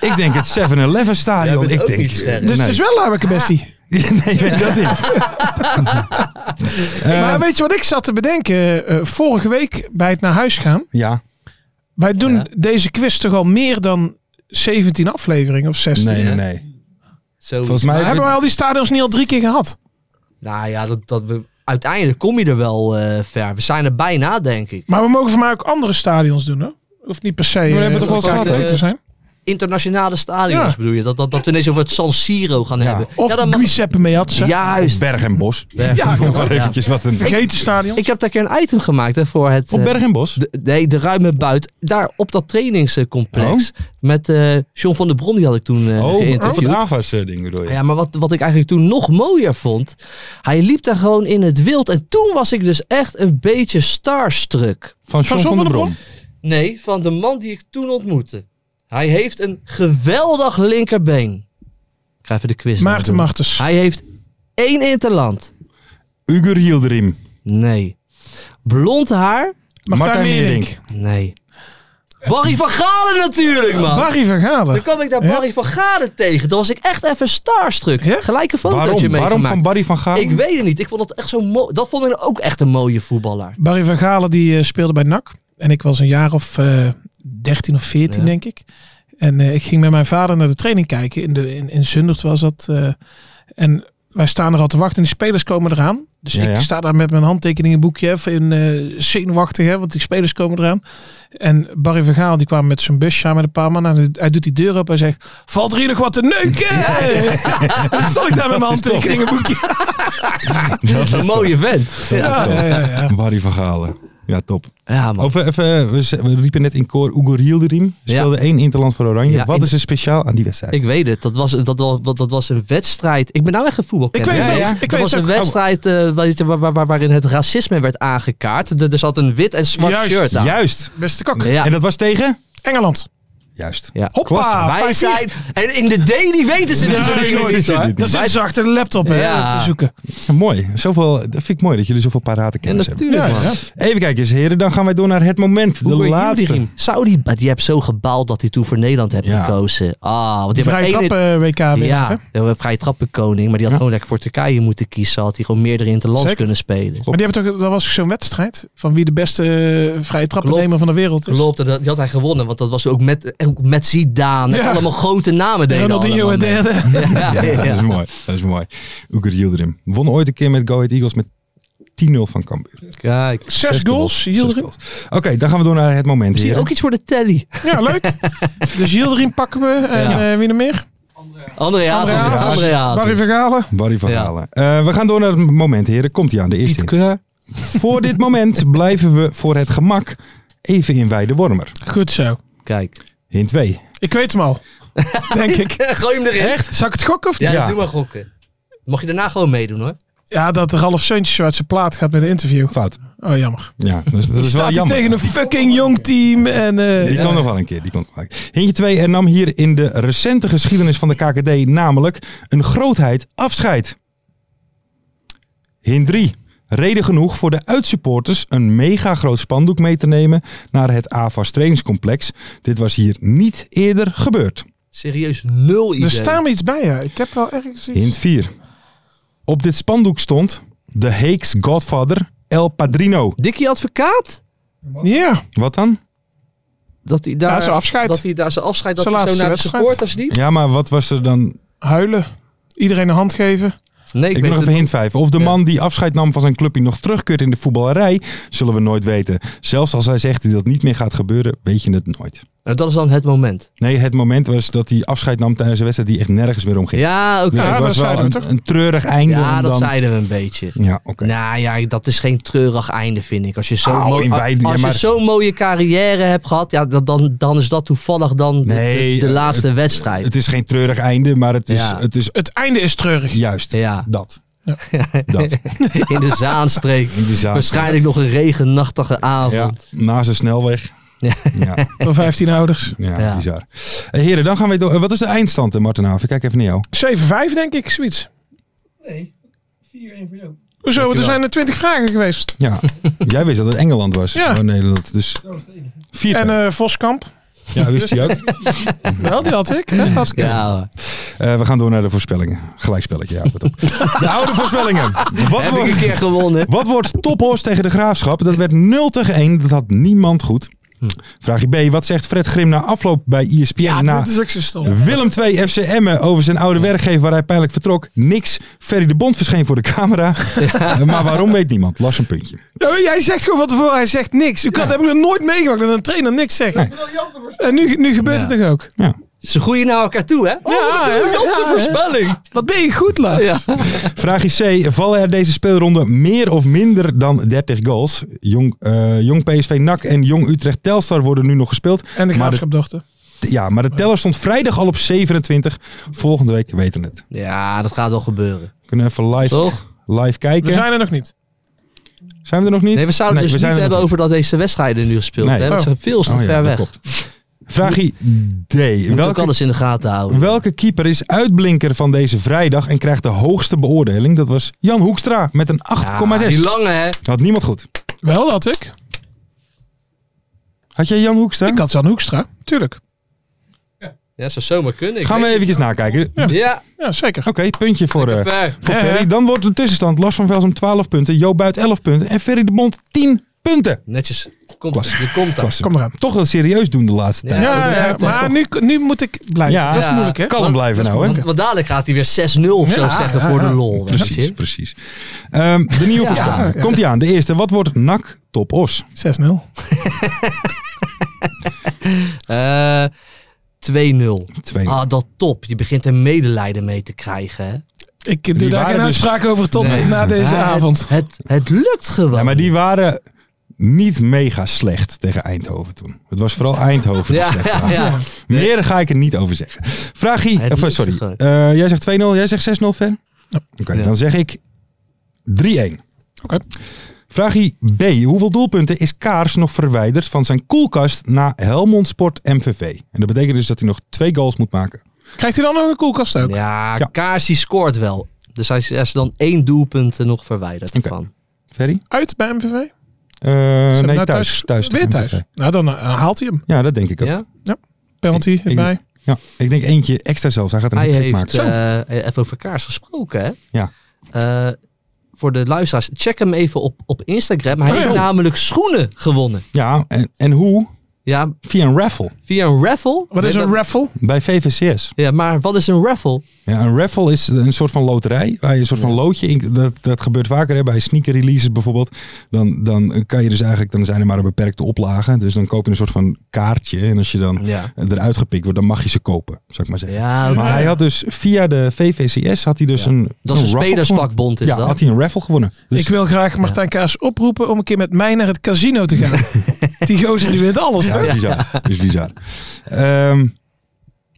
S4: ik denk het 7-Eleven
S5: Jij
S4: stadion.
S5: bent
S4: Ik
S5: ook
S4: denk,
S5: niet scherp.
S4: eh,
S6: dus
S4: nee.
S6: het is wel Laabeke Bessie.
S4: nee, nee, dat niet. Eh,
S6: maar weet je wat ik zat te bedenken? eh, vorige week bij het naar huis gaan.
S4: ja,
S6: Wij doen
S5: Ja.
S6: deze quiz toch al meer dan 17 afleveringen of 16.
S4: nee, nee,
S5: hè?
S4: nee.
S5: Zoiets.
S4: Volgens mij
S6: Maar hebben wij al die stadions niet al drie keer gehad?
S5: Nou ja, dat, dat we, uiteindelijk kom je er wel eh, ver. We zijn er bijna, denk ik.
S6: Maar we mogen voor mij ook andere stadions doen, hè? Of niet per se. We
S4: hebben het toch wel eens gehad, eh, hè?
S6: te zijn.
S5: Internationale stadions
S6: Ja.
S5: bedoel je? Dat, dat, dat we ineens over het San Siro gaan hebben.
S6: Of
S5: dan mag-
S6: Giuseppe Meazza.
S5: Juist.
S4: Berg en Bos.
S5: Ja,
S4: Om maar eventjes wat een...
S6: Vergeten stadion.
S5: Ik heb daar een keer een item gemaakt hè, voor het...
S4: Op
S5: eh,
S4: Berg en Bos?
S5: de, nee, de ruime buit. Daar op dat trainingscomplex. Met eh John van der Bron, die had ik toen eh
S4: Oh, op het
S5: geïnterviewd.
S4: AFAS-ding bedoel je?
S5: Ja, maar wat, wat ik eigenlijk toen nog mooier vond. Hij liep daar gewoon in het wild. En toen was ik dus echt een beetje starstruck.
S4: Van John van,
S6: John
S4: der
S6: van
S4: Brom.
S5: Nee, van de man die ik toen ontmoette. Hij heeft een geweldig linkerbeen. Ik ga even de quiz
S6: Maarten
S5: nadoen.
S6: Martens.
S5: Hij heeft één interland.
S4: Ugur Yildirim.
S5: Nee. Blond haar?
S4: Martijn
S6: Meerink.
S4: Meerink.
S5: Nee. Barry van Galen natuurlijk, man.
S6: Barry van
S5: Dan
S6: Galen.
S5: kwam ik daar
S6: Ja?
S5: Barry van Galen tegen. Dan was ik echt even starstruck.
S6: Ja?
S5: Gelijke fotootje
S4: Waarom? Waarom van
S5: meegemaakt.
S4: Barry van Gaal?
S5: Ik weet het niet. Ik vond dat echt zo mooi. Dat vond ik nou ook echt een mooie voetballer.
S6: Barry van Galen die eh, speelde bij NAC. En ik was een jaar of eh 13 of 14,
S5: Ja.
S6: denk ik. En eh, ik ging met mijn vader naar de training kijken. In, de, in, in Zundert was dat. eh, en wij staan er al te wachten. En die spelers komen eraan. Dus
S4: Ja,
S6: ik
S4: ja.
S6: sta daar met mijn handtekeningenboekje even in eh, zenuwachtig. Hè, want die spelers komen eraan. En Barry van Gaal die kwam met zijn busje aan met een paar man. En hij doet die deur op. Hij zegt, valt er hier nog wat te neuken? Dan stond ik daar met mijn handtekeningenboekje.
S5: Een mooie vent. Ja.
S6: Ja, ja, ja, ja.
S4: Barry van Galen. Ja, top.
S5: Ja,
S6: Oh.
S5: man.
S4: Over, even, eh, we, z- we riepen net in koor Ugo Rielderim. Speelde één Interland voor Oranje.
S5: Ja,
S4: Wat
S5: in-
S4: is er speciaal aan die wedstrijd?
S5: Ik weet het, dat was, dat, was, dat was een wedstrijd. Ik ben nou echt een voetbalkenner.
S6: Ik weet
S4: het ook, ik
S5: Dat
S6: weet
S5: was
S6: het
S5: een
S6: ook.
S5: wedstrijd eh, weet je, waar, waar, waar- waarin het racisme werd aangekaart. Er, er zat een wit en zwart
S6: Juist,
S5: shirt aan.
S4: Juist.
S6: Beste kak.
S5: Ja.
S4: En dat was tegen?
S6: Engeland.
S4: Juist.
S5: Ja.
S6: Hoppa,
S5: Wij
S6: 5-4.
S5: zijn... En in de daily weten ze dit
S6: Nee,
S5: soort dingen
S6: nooit.
S5: niet, hoor.
S6: Dan zitten ze Ah, achter de laptop
S5: Ja.
S6: hè, te zoeken.
S4: Ja, mooi. Zoveel, dat vind ik mooi dat jullie zoveel parate
S5: En
S4: kennis hebben.
S5: natuurlijk, man.
S4: Even kijken eens, heren. Dan gaan wij door naar het moment. de laatste.
S5: Saudi, maar die hebt zo gebaald dat hij toen voor Nederland heeft
S4: Ja.
S5: gekozen. Ah, want die
S6: Die vrije
S5: hebben één-
S6: trappen WK weer.
S5: Ja, de vrije trappenkoning. Maar die had gewoon lekker voor Turkije moeten kiezen. Had hij gewoon meerdere interlands
S6: Zeker. Dus-
S5: kunnen spelen.
S6: Maar die hebben toch, dat was zo'n wedstrijd van wie de beste eh, vrije trappennemer
S5: Klopt.
S6: van de wereld is.
S5: Klopt, en dat, die had hij gewonnen. Want dat was ook met, ook met Zidane. en
S6: Ja.
S5: Allemaal grote namen deden
S6: Ronaldinho en
S5: allemaal mee.
S6: derde.
S5: Ja, ja,
S4: Ja, dat is mooi. Dat is mooi. Ugo Rielderim. Won ooit een keer met Go Ahead Eagles met 10-0 van Cambuur.
S5: Kijk.
S6: Zes goals,
S4: Zes
S6: Yildirim.
S4: goals. Oké, dan gaan we door naar het moment,
S5: Zie je
S4: heren.
S5: ook iets voor de telly.
S6: Ja, leuk. dus Yildirim pakken we. En
S5: Ja.
S6: eh, wie nog meer?
S5: André Hazes.
S6: André
S5: André
S6: Hazes. Barry
S5: Hazes.
S6: Vergalen.
S4: Barry van Galen. Eh, we gaan door naar het moment, heren. Komt-ie aan, de eerste hint. Voor dit moment blijven we voor het gemak even in Weide Wormer.
S6: Goed zo.
S5: Kijk.
S4: Hint 2.
S6: Ik weet hem al. Denk ik.
S5: Gooi hem erin. Echt?
S6: Zal ik het gokken of niet?
S5: Ja,
S4: Ja.
S5: doe maar gokken. Mag je daarna gewoon meedoen hoor.
S6: Ja, dat Ralf Seuntjes uit zijn plaat gaat met een interview.
S4: Fout.
S6: Oh, jammer.
S4: Ja, dat is, dat is
S6: Staat
S4: wel
S6: hij
S4: jammer.
S6: tegen een fucking jong team. En, eh,
S4: Die komt nog wel een keer. Die komt nog wel een keer. Hintje 2. Er nam hier in de recente geschiedenis van de KKD namelijk een grootheid afscheid. Hint 3. Reden genoeg voor de uitsupporters een mega groot spandoek mee te nemen naar het AFAS trainingscomplex. Dit was hier niet eerder gebeurd.
S5: Serieus, nul idee.
S6: er staat me iets bij, ja. Ik heb wel ergens iets.
S4: Hint 4. Op dit spandoek stond de Heeks Godfather El Padrino.
S5: Dikkie advocaat?
S6: Ja,
S4: Wat dan?
S5: Dat hij daar,
S6: Ja, zijn afscheid.
S5: Dat hij daar zijn afscheid, dat
S6: Zijn
S5: hij zo
S6: laatste
S5: naar de
S6: wedstrijd.
S5: supporters liep.
S4: Ja, maar wat was er dan?
S6: huilen. Iedereen een hand geven.
S5: Nee,
S4: Ik,
S5: weet
S4: wil nog
S5: het
S4: even hint 5. Of de
S5: Ja.
S4: man die afscheid nam van zijn club die nog terugkeert in de voetballerij, zullen we nooit weten. Zelfs als hij zegt dat dat niet meer gaat gebeuren, weet je het nooit.
S5: Nou, dat is dan het moment.
S4: Nee, het moment was dat hij afscheid nam tijdens een wedstrijd die echt nergens meer om ging.
S5: Ja, oké.
S4: Dus
S6: Ja,
S4: het
S6: dat
S4: was wel
S6: zeiden we
S4: een,
S6: toch?
S4: een treurig einde.
S5: Ja,
S4: om
S5: dat
S4: dan...
S5: zeiden we een beetje.
S4: Ja, oké.
S5: Nou ja, dat is geen treurig einde, vind ik. Als je zo'n
S4: Au,
S5: mooi-
S4: Nou, in wijde-
S5: als
S4: ja, maar-
S5: je zo'n mooie carrière hebt gehad, ja, dat- dan, dan is dat toevallig dan de-
S4: Nee,
S5: de, de
S4: eh,
S5: laatste wedstrijd.
S4: Het is geen treurig einde, maar het is,
S5: Ja.
S4: het is
S6: Het einde is treurig.
S4: juist
S5: Ja.
S4: dat. Dat.
S5: in de Zaanstreek.
S4: In de zaak.
S5: Waarschijnlijk nog een regenachtige
S4: Ja,
S5: avond.
S4: naast de snelweg.
S5: Ja.
S4: Ja,
S6: Van 15 ouders. 7-5
S4: ja,
S5: Ja.
S4: bizar. Eh, heren, dan gaan we door. Eh, Wat is de eindstand, eh, Martin Haven? Kijk even naar jou.
S6: denk ik, zoiets. Nee, 4-1 voor jou. Hoezo? Er zijn er 20 vragen geweest.
S4: Ja, jij wist dat het Engeland was.
S6: Ja.
S4: Oh, Nederland. Dus vier.
S6: En eh, Voskamp.
S4: ja, wist je ook.
S6: Wel, die had ik. Hè? Had ik.
S5: Ja, hoor.
S4: Eh, we gaan door naar de voorspellingen. Gelijkspelletje, ja. Wat op. De oude voorspellingen. Wat,
S5: heb ik een
S4: wordt-
S5: keer gewonnen.
S4: wat wordt Tophorst tegen de Graafschap? Dat werd 0 tegen 1. Dat had niemand goed.
S5: Hm.
S4: Vraagje B. Wat zegt Fred Grim na afloop bij E ESPN na
S6: dat is ook zo stom.
S4: Willem 2 FC Emmen over zijn oude werkgever waar hij pijnlijk vertrok? Niks. Ferry de Bond verscheen voor de camera. Maar waarom weet niemand? Las een puntje.
S6: Nou, jij zegt gewoon wat ervoor, hij zegt niks. U kan, Dat heb ik nog nooit meegemaakt dat een trainer niks zegt. En nu, nu gebeurt
S5: Ja.
S6: het nog ook.
S5: Ze groeien naar elkaar toe, hè? Oh,
S6: Ja,
S5: wat een
S6: ja,
S5: briljante
S6: ja,
S5: voorspelling.
S6: Wat ben je goed, Lars?
S5: Ja.
S4: Vraagje C. Vallen er deze speelronde meer of minder dan 30 goals? Jong, eh, jong PSV NAC en Jong Utrecht Telstar worden nu nog gespeeld.
S6: En de
S4: Maar de-
S6: graafschapdochter.
S4: Ja, maar de teller stond vrijdag al op 27. Volgende week weten we het.
S5: Ja, dat gaat wel gebeuren.
S4: We kunnen even live,
S5: Toch?
S4: live
S6: We
S4: kijken. Zijn...
S6: zijn er nog niet.
S4: we er nog niet?
S5: Nee, we zouden
S4: Nee, we
S5: dus
S4: zijn er
S5: niet hebben
S4: nog
S5: over dat deze wedstrijden nu gespeeld
S4: Nee.
S5: hebben. Dat
S6: Oh.
S5: zijn veel te
S4: Oh ja,
S5: ver
S4: dat
S5: weg.
S4: klopt. Vraagje D.
S5: Je moet ook
S4: Welke,
S5: alles in de gaten houden.
S4: welke keeper is uitblinker van deze vrijdag en krijgt de hoogste beoordeling? Dat was Jan Hoekstra met een 8,6.
S5: Ja, die lange, hè?
S4: Had niemand goed.
S6: Wel dat ik.
S4: Had jij Jan Hoekstra?
S6: Ik had Jan Hoekstra. Tuurlijk.
S5: Ja, zou zomaar kunnen. Ik
S4: Gaan we
S5: weet-
S4: eventjes nakijken.
S5: Ja,
S6: Ja, zeker.
S4: Oké, puntje voor, eh,
S5: ver.
S4: voor
S6: Ja,
S4: Ferry.
S6: hè?
S4: Dan wordt de tussenstand Lars van Velsom 12 punten, Jo Buit 11 punten en Ferry de Bond 10 punten.
S5: Netjes. Komt,
S4: Klasse.
S5: je komt daar.
S4: Klasse.
S6: Kom eraan.
S4: Toch wel serieus doen de laatste
S5: Ja,
S4: tijd.
S6: Ja, ja,
S5: inderdaad,
S6: maar nu, nu moet ik blijven.
S4: Ja.
S6: dat is
S5: Ja.
S6: moeilijk, hè?
S4: Kalm blijven nou, hè?
S5: Want, want dadelijk gaat hij weer 6-0 of zo
S6: Ja,
S5: zeggen
S6: ja,
S5: voor
S6: ja.
S5: de lol. weet
S4: Precies,
S5: je.
S4: precies. Ehm, de nieuwe
S5: Ja.
S4: voorspelling. Komt ie aan. De eerste. Wat wordt NAC top os?
S6: 6-0.
S5: Eh, 2-0.
S4: Twee.
S5: Ah, dat top. Je begint er medelijden mee te krijgen. Hè?
S6: Ik eh, doe
S4: Die
S6: daar
S4: waren
S6: geen
S4: dus-
S6: uitspraak over tot
S4: Nee.
S6: na deze
S5: Ja, het-
S6: avond.
S5: Het, het, lukt gewoon.
S4: ja, maar die waren niet mega slecht tegen Eindhoven toen. Het was vooral Eindhoven. die
S5: Ja,
S4: slecht
S5: ja,
S4: waren.
S5: ja.
S4: Meer ga ik er niet over zeggen. Vraagie,
S5: Het
S4: of,
S5: liefst
S4: sorry.
S5: gewoon.
S4: Eh, jij zegt 2-0, jij zegt 6-0, fan. Oké, dan zeg ik 3-1.
S6: Oké.
S4: Vraagie B. Hoeveel doelpunten is Kaars nog verwijderd van zijn koelkast na Helmond Sport MVV? En dat betekent dus dat hij nog twee goals moet maken.
S6: Krijgt hij dan nog een koelkast ook?
S5: Ja,
S4: Ja.
S5: Kaars die scoort wel. Dus hij is, hij is dan één doelpunt eh, nog verwijderd
S4: Oké.
S5: ervan.
S4: Ferry?
S6: Uit bij MVV? Ze
S4: Eh,
S6: hebben
S4: nee,
S6: nou
S4: thuis. thuis
S6: weer
S4: tegen
S6: thuis.
S4: MVV.
S6: Nou, dan eh, haalt hij hem.
S4: Ja, dat denk ik ook. Ja,
S5: Ja?
S6: Penalty
S4: Ik- ik-
S6: erbij.
S4: ik denk eentje extra zelfs. Hij gaat een
S5: Hij
S4: hat-trick
S5: heeft
S4: maken. Zo.
S5: eh, even over Kaars gesproken, hè?
S4: Ja.
S5: Eh, voor de luisteraars, check hem even op, op Instagram. Hij
S6: Oh,
S5: heeft
S6: ja.
S5: namelijk schoenen gewonnen.
S4: Ja, en, en hoe?
S5: Ja,
S4: Via een raffle
S5: via een raffle.
S6: Wat is
S5: Nee,
S6: een
S5: dat-
S6: raffle?
S4: bij VVCS.
S5: Ja, maar wat is een raffle?
S4: Ja, een raffle is een soort van loterij. Waar je een soort van
S5: Ja.
S4: loodje in. Dat, dat gebeurt vaker hè, bij sneaker releases bijvoorbeeld. Dan, dan kan je dus eigenlijk. Dan zijn er maar een beperkte oplagen. Dus dan koop je een soort van kaartje. En als je dan
S5: Ja.
S4: eruit gepikt wordt, dan mag je ze kopen. Zou ik maar zeggen.
S5: Ja, oké.
S4: Maar hij had dus via de VVCS. Had hij dus
S5: Ja.
S4: een.
S5: Dat is een
S4: raffle
S5: spelersvakbond,
S4: gewonnen.
S5: is
S4: Ja,
S5: dat?
S4: had hij een raffle gewonnen. Dus
S6: ik wil graag Martijn Kaars oproepen om een keer met mij naar het casino te gaan. die gozer die wint alles.
S4: Ja,
S6: toch?
S4: is bizar. Is bizar. Ehm,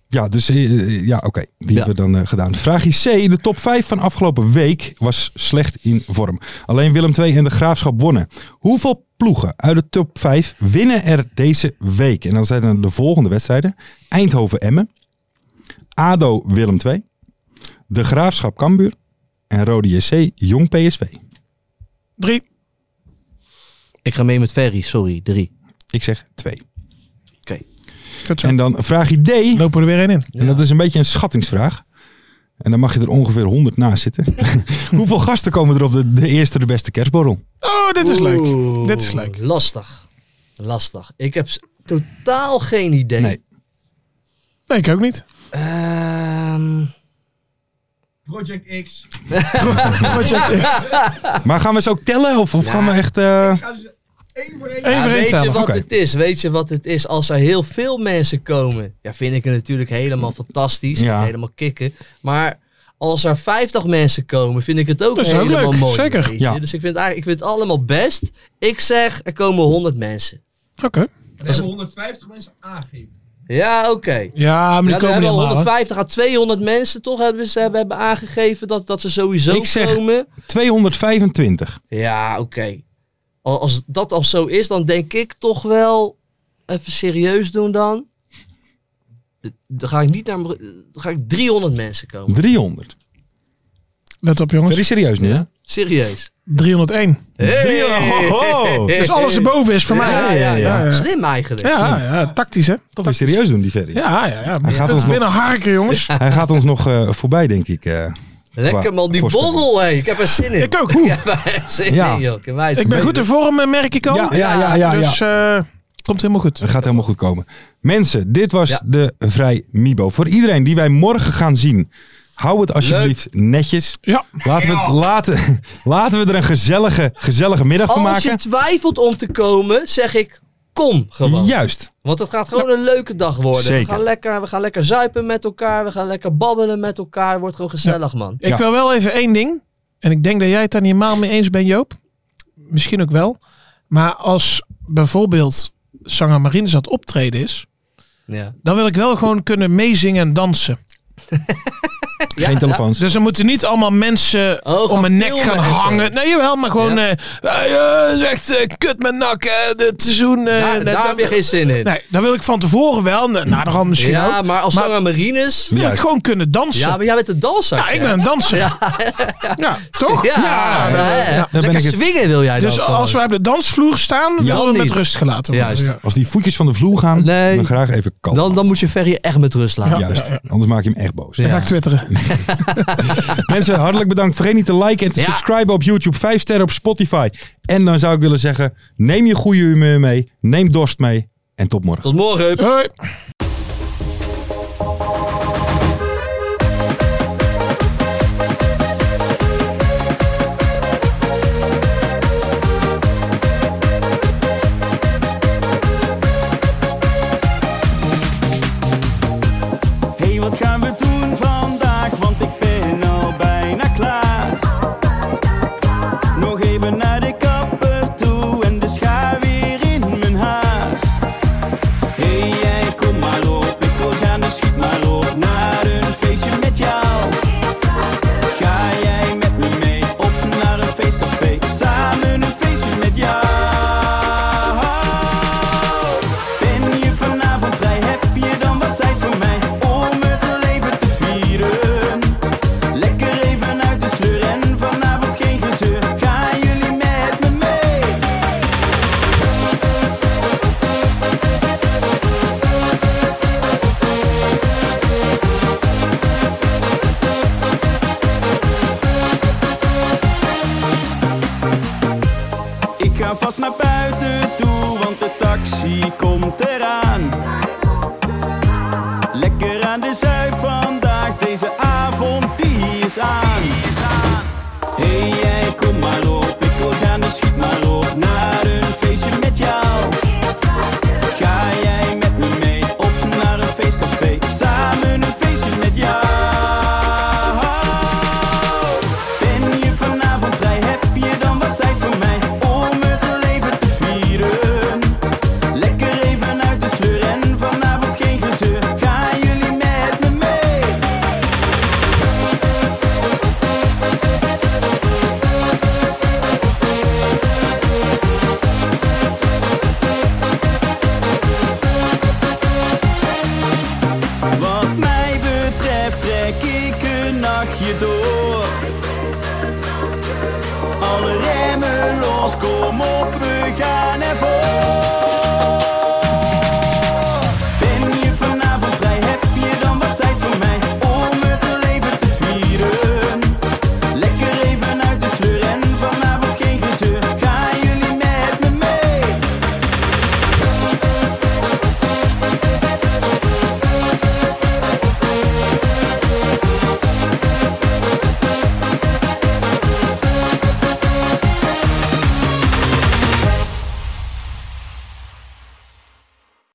S4: ja, dus eh, ja, oké. Die
S5: Ja.
S4: hebben we dan eh, gedaan. Vraagje C. De top 5 van afgelopen week was slecht in vorm. Alleen Willem II en de Graafschap wonnen. Hoeveel ploegen uit de top 5 winnen er deze week? En dan zijn er de volgende wedstrijden. Eindhoven-Emmen. ADO Willem II. De Graafschap Cambuur. En Rode JC Jong PSV.
S6: Drie.
S5: Ik ga mee met Ferry, sorry, drie.
S4: Ik zeg 2.
S6: Goed zo.
S4: En dan vraagje D.
S6: Lopen we er weer één in.
S4: En dat is een beetje een schattingsvraag. En dan mag je er ongeveer 100 naast zitten. Hoeveel gasten komen er op de, de eerste, de beste kerstborrel?
S6: Oh, dit is
S5: Oeh,
S6: leuk. Dit is leuk.
S5: Lastig. Lastig. Ik heb s- totaal geen idee.
S4: Nee.
S6: Nee, ik ook niet.
S5: Ehm,
S8: Project X.
S4: Maar gaan we ze ook tellen? Of, of gaan we echt. eh,
S8: Eén voor één.
S6: Eén
S5: ja,
S6: voor één
S5: weet je
S6: tellen.
S5: wat
S4: Oké.
S5: het is? Weet je wat het is? Als er heel veel mensen komen, ja, vind ik het natuurlijk helemaal fantastisch.
S4: Ja.
S5: Helemaal kicken. Maar als er 50 mensen komen, vind ik het ook
S6: Dat is ook
S5: helemaal
S6: leuk,
S5: mooi.
S6: zeker.
S5: weet je.
S4: Ja.
S5: Dus ik vind, het eigenlijk, ik vind het allemaal best. Ik zeg, er komen 100 mensen.
S6: Oké.
S8: We hebben 150 mensen aangegeven.
S5: Ja, oké.
S6: Ja,
S5: Ja,
S6: maar die
S5: er
S6: komen niet
S5: hebben
S6: allemaal. hè?
S5: 150 à 200 mensen toch hebben, ze hebben, hebben aangegeven dat, dat ze sowieso
S4: Ik zeg-
S5: komen.
S4: 225.
S5: Ja, oké. Al- Als dat al zo is, dan denk ik toch wel even serieus doen dan. Dan ga ik niet naar mijn- dan ga ik 300 mensen komen.
S4: 300.
S6: Let op jongens.
S4: Very serieus nu, hè?
S5: Serieus.
S6: 301.
S4: Hey. Ho, ho.
S6: Dus alles erboven is voor mij.
S5: Ja, ja, ja.
S6: ja.
S5: Slim eigenlijk.
S6: Eh, Ja, ja, tactisch hè.
S4: Toch weer serieus doen, die Ferry.
S6: Ja, ja, ja.
S4: gaat ons nog-
S6: binnen harken jongens.
S4: Hij gaat ons nog eh, voorbij, denk ik. eh.
S5: Lekker man, die
S4: Voorspelling.
S5: borrel hé. Ik heb er zin in.
S6: Ik ook. Oeh.
S5: Ik heb er zin
S4: Ja.
S5: in joh. Ik heb wijs-
S6: Ik ben goed in vorm, eh, merk ik al.
S4: Ja, ja, ja, ja, ja.
S6: Dus eh, komt helemaal goed.
S4: Het gaat helemaal goed komen. Mensen, dit was
S5: Ja.
S4: de Vrij Mibo. Voor iedereen die wij morgen gaan zien, hou het alsjeblieft netjes.
S6: Ja.
S4: Laten we, het- laten, laten we er een gezellige, gezellige middag van
S5: Als je
S4: maken.
S5: twijfelt om te komen, zeg ik kom gewoon.
S4: Juist.
S5: Want het gaat gewoon een leuke dag worden.
S4: Zeker.
S5: We, gaan lekker, we gaan lekker zuipen met elkaar. We gaan lekker babbelen met elkaar. Het wordt gewoon gezellig, man.
S6: Ik
S4: Ja.
S6: wil wel even één ding. En ik denk dat jij het daar niet helemaal mee eens bent, Joop. Misschien ook wel. Maar als bijvoorbeeld Sanger Marines dat optreden is,
S5: Ja.
S6: dan wil ik wel gewoon kunnen meezingen en dansen.
S4: Geen telefoons.
S6: Dus dan moeten niet allemaal mensen
S5: Oh, gaan
S6: om mijn nek
S5: filmen
S6: gaan
S5: en zo.
S6: hangen. Nee, jawel, maar gewoon... eh eh, eh, echt eh, kut met nak, eh, dit seizoen... eh,
S5: Daar,
S6: dat-
S5: daar heb je geen zin in.
S6: Nee, dan wil ik van tevoren wel, na na de hand misschien
S5: ja,
S6: ook.
S5: maar als
S6: Maar-
S5: Sarah Marines...
S6: Dan wil ik
S4: Juist.
S6: gewoon kunnen dansen.
S5: Ja,
S6: Ja,
S5: maar jij bent een danser.
S6: ik ben een danser. Ja, toch?
S5: Ja,
S6: Ja,
S5: ja, ja.
S4: ben
S5: Lekker
S4: ik het-
S5: swingen wil jij
S6: Dus
S5: dan
S6: als
S5: gewoon.
S6: wij op de dansvloer staan, dan worden we met
S5: niet.
S6: rust gelaten worden.
S5: Juist.
S6: Ja.
S4: Als die voetjes van de vloer gaan,
S5: Nee.
S4: dan graag even kalm.
S5: Dan, dan moet je Ferry echt met rust laten.
S4: Juist, anders maak je hem echt boos.
S6: Dan ga ik twitteren.
S4: Mensen, hartelijk bedankt. Vergeet niet te liken en te
S5: Ja.
S4: subscriben op YouTube. Vijf sterren op Spotify. En dan zou ik willen zeggen, neem je goede humeur mee. Neem dorst mee. En tot morgen.
S5: Tot morgen.
S6: Hoi.
S2: Hey, wat gaan we doen vandaag? Want ik ben al bijna klaar. Nog even naar de kapper toe en de schaar dus pas naar buiten toe, want de taxi komt eraan. Lekker aan de zuip vandaag, deze avond die is aan. Hey jij, kom maar op, ik wil gaan, dus schiet maar op naar een feestje met jou. Ga jij met me mee op naar een feestcafé? Samen een feestje met jou. Ben je vanavond vrij? Heb je dan wat tijd voor mij om het leven te vieren? Lekker even uit de sleur en vanavond geen gezeur. Gaan jullie met me mee? Wat mij betreft trek ik een nachtje door. Alle remmen los, kom op, we gaan ervan.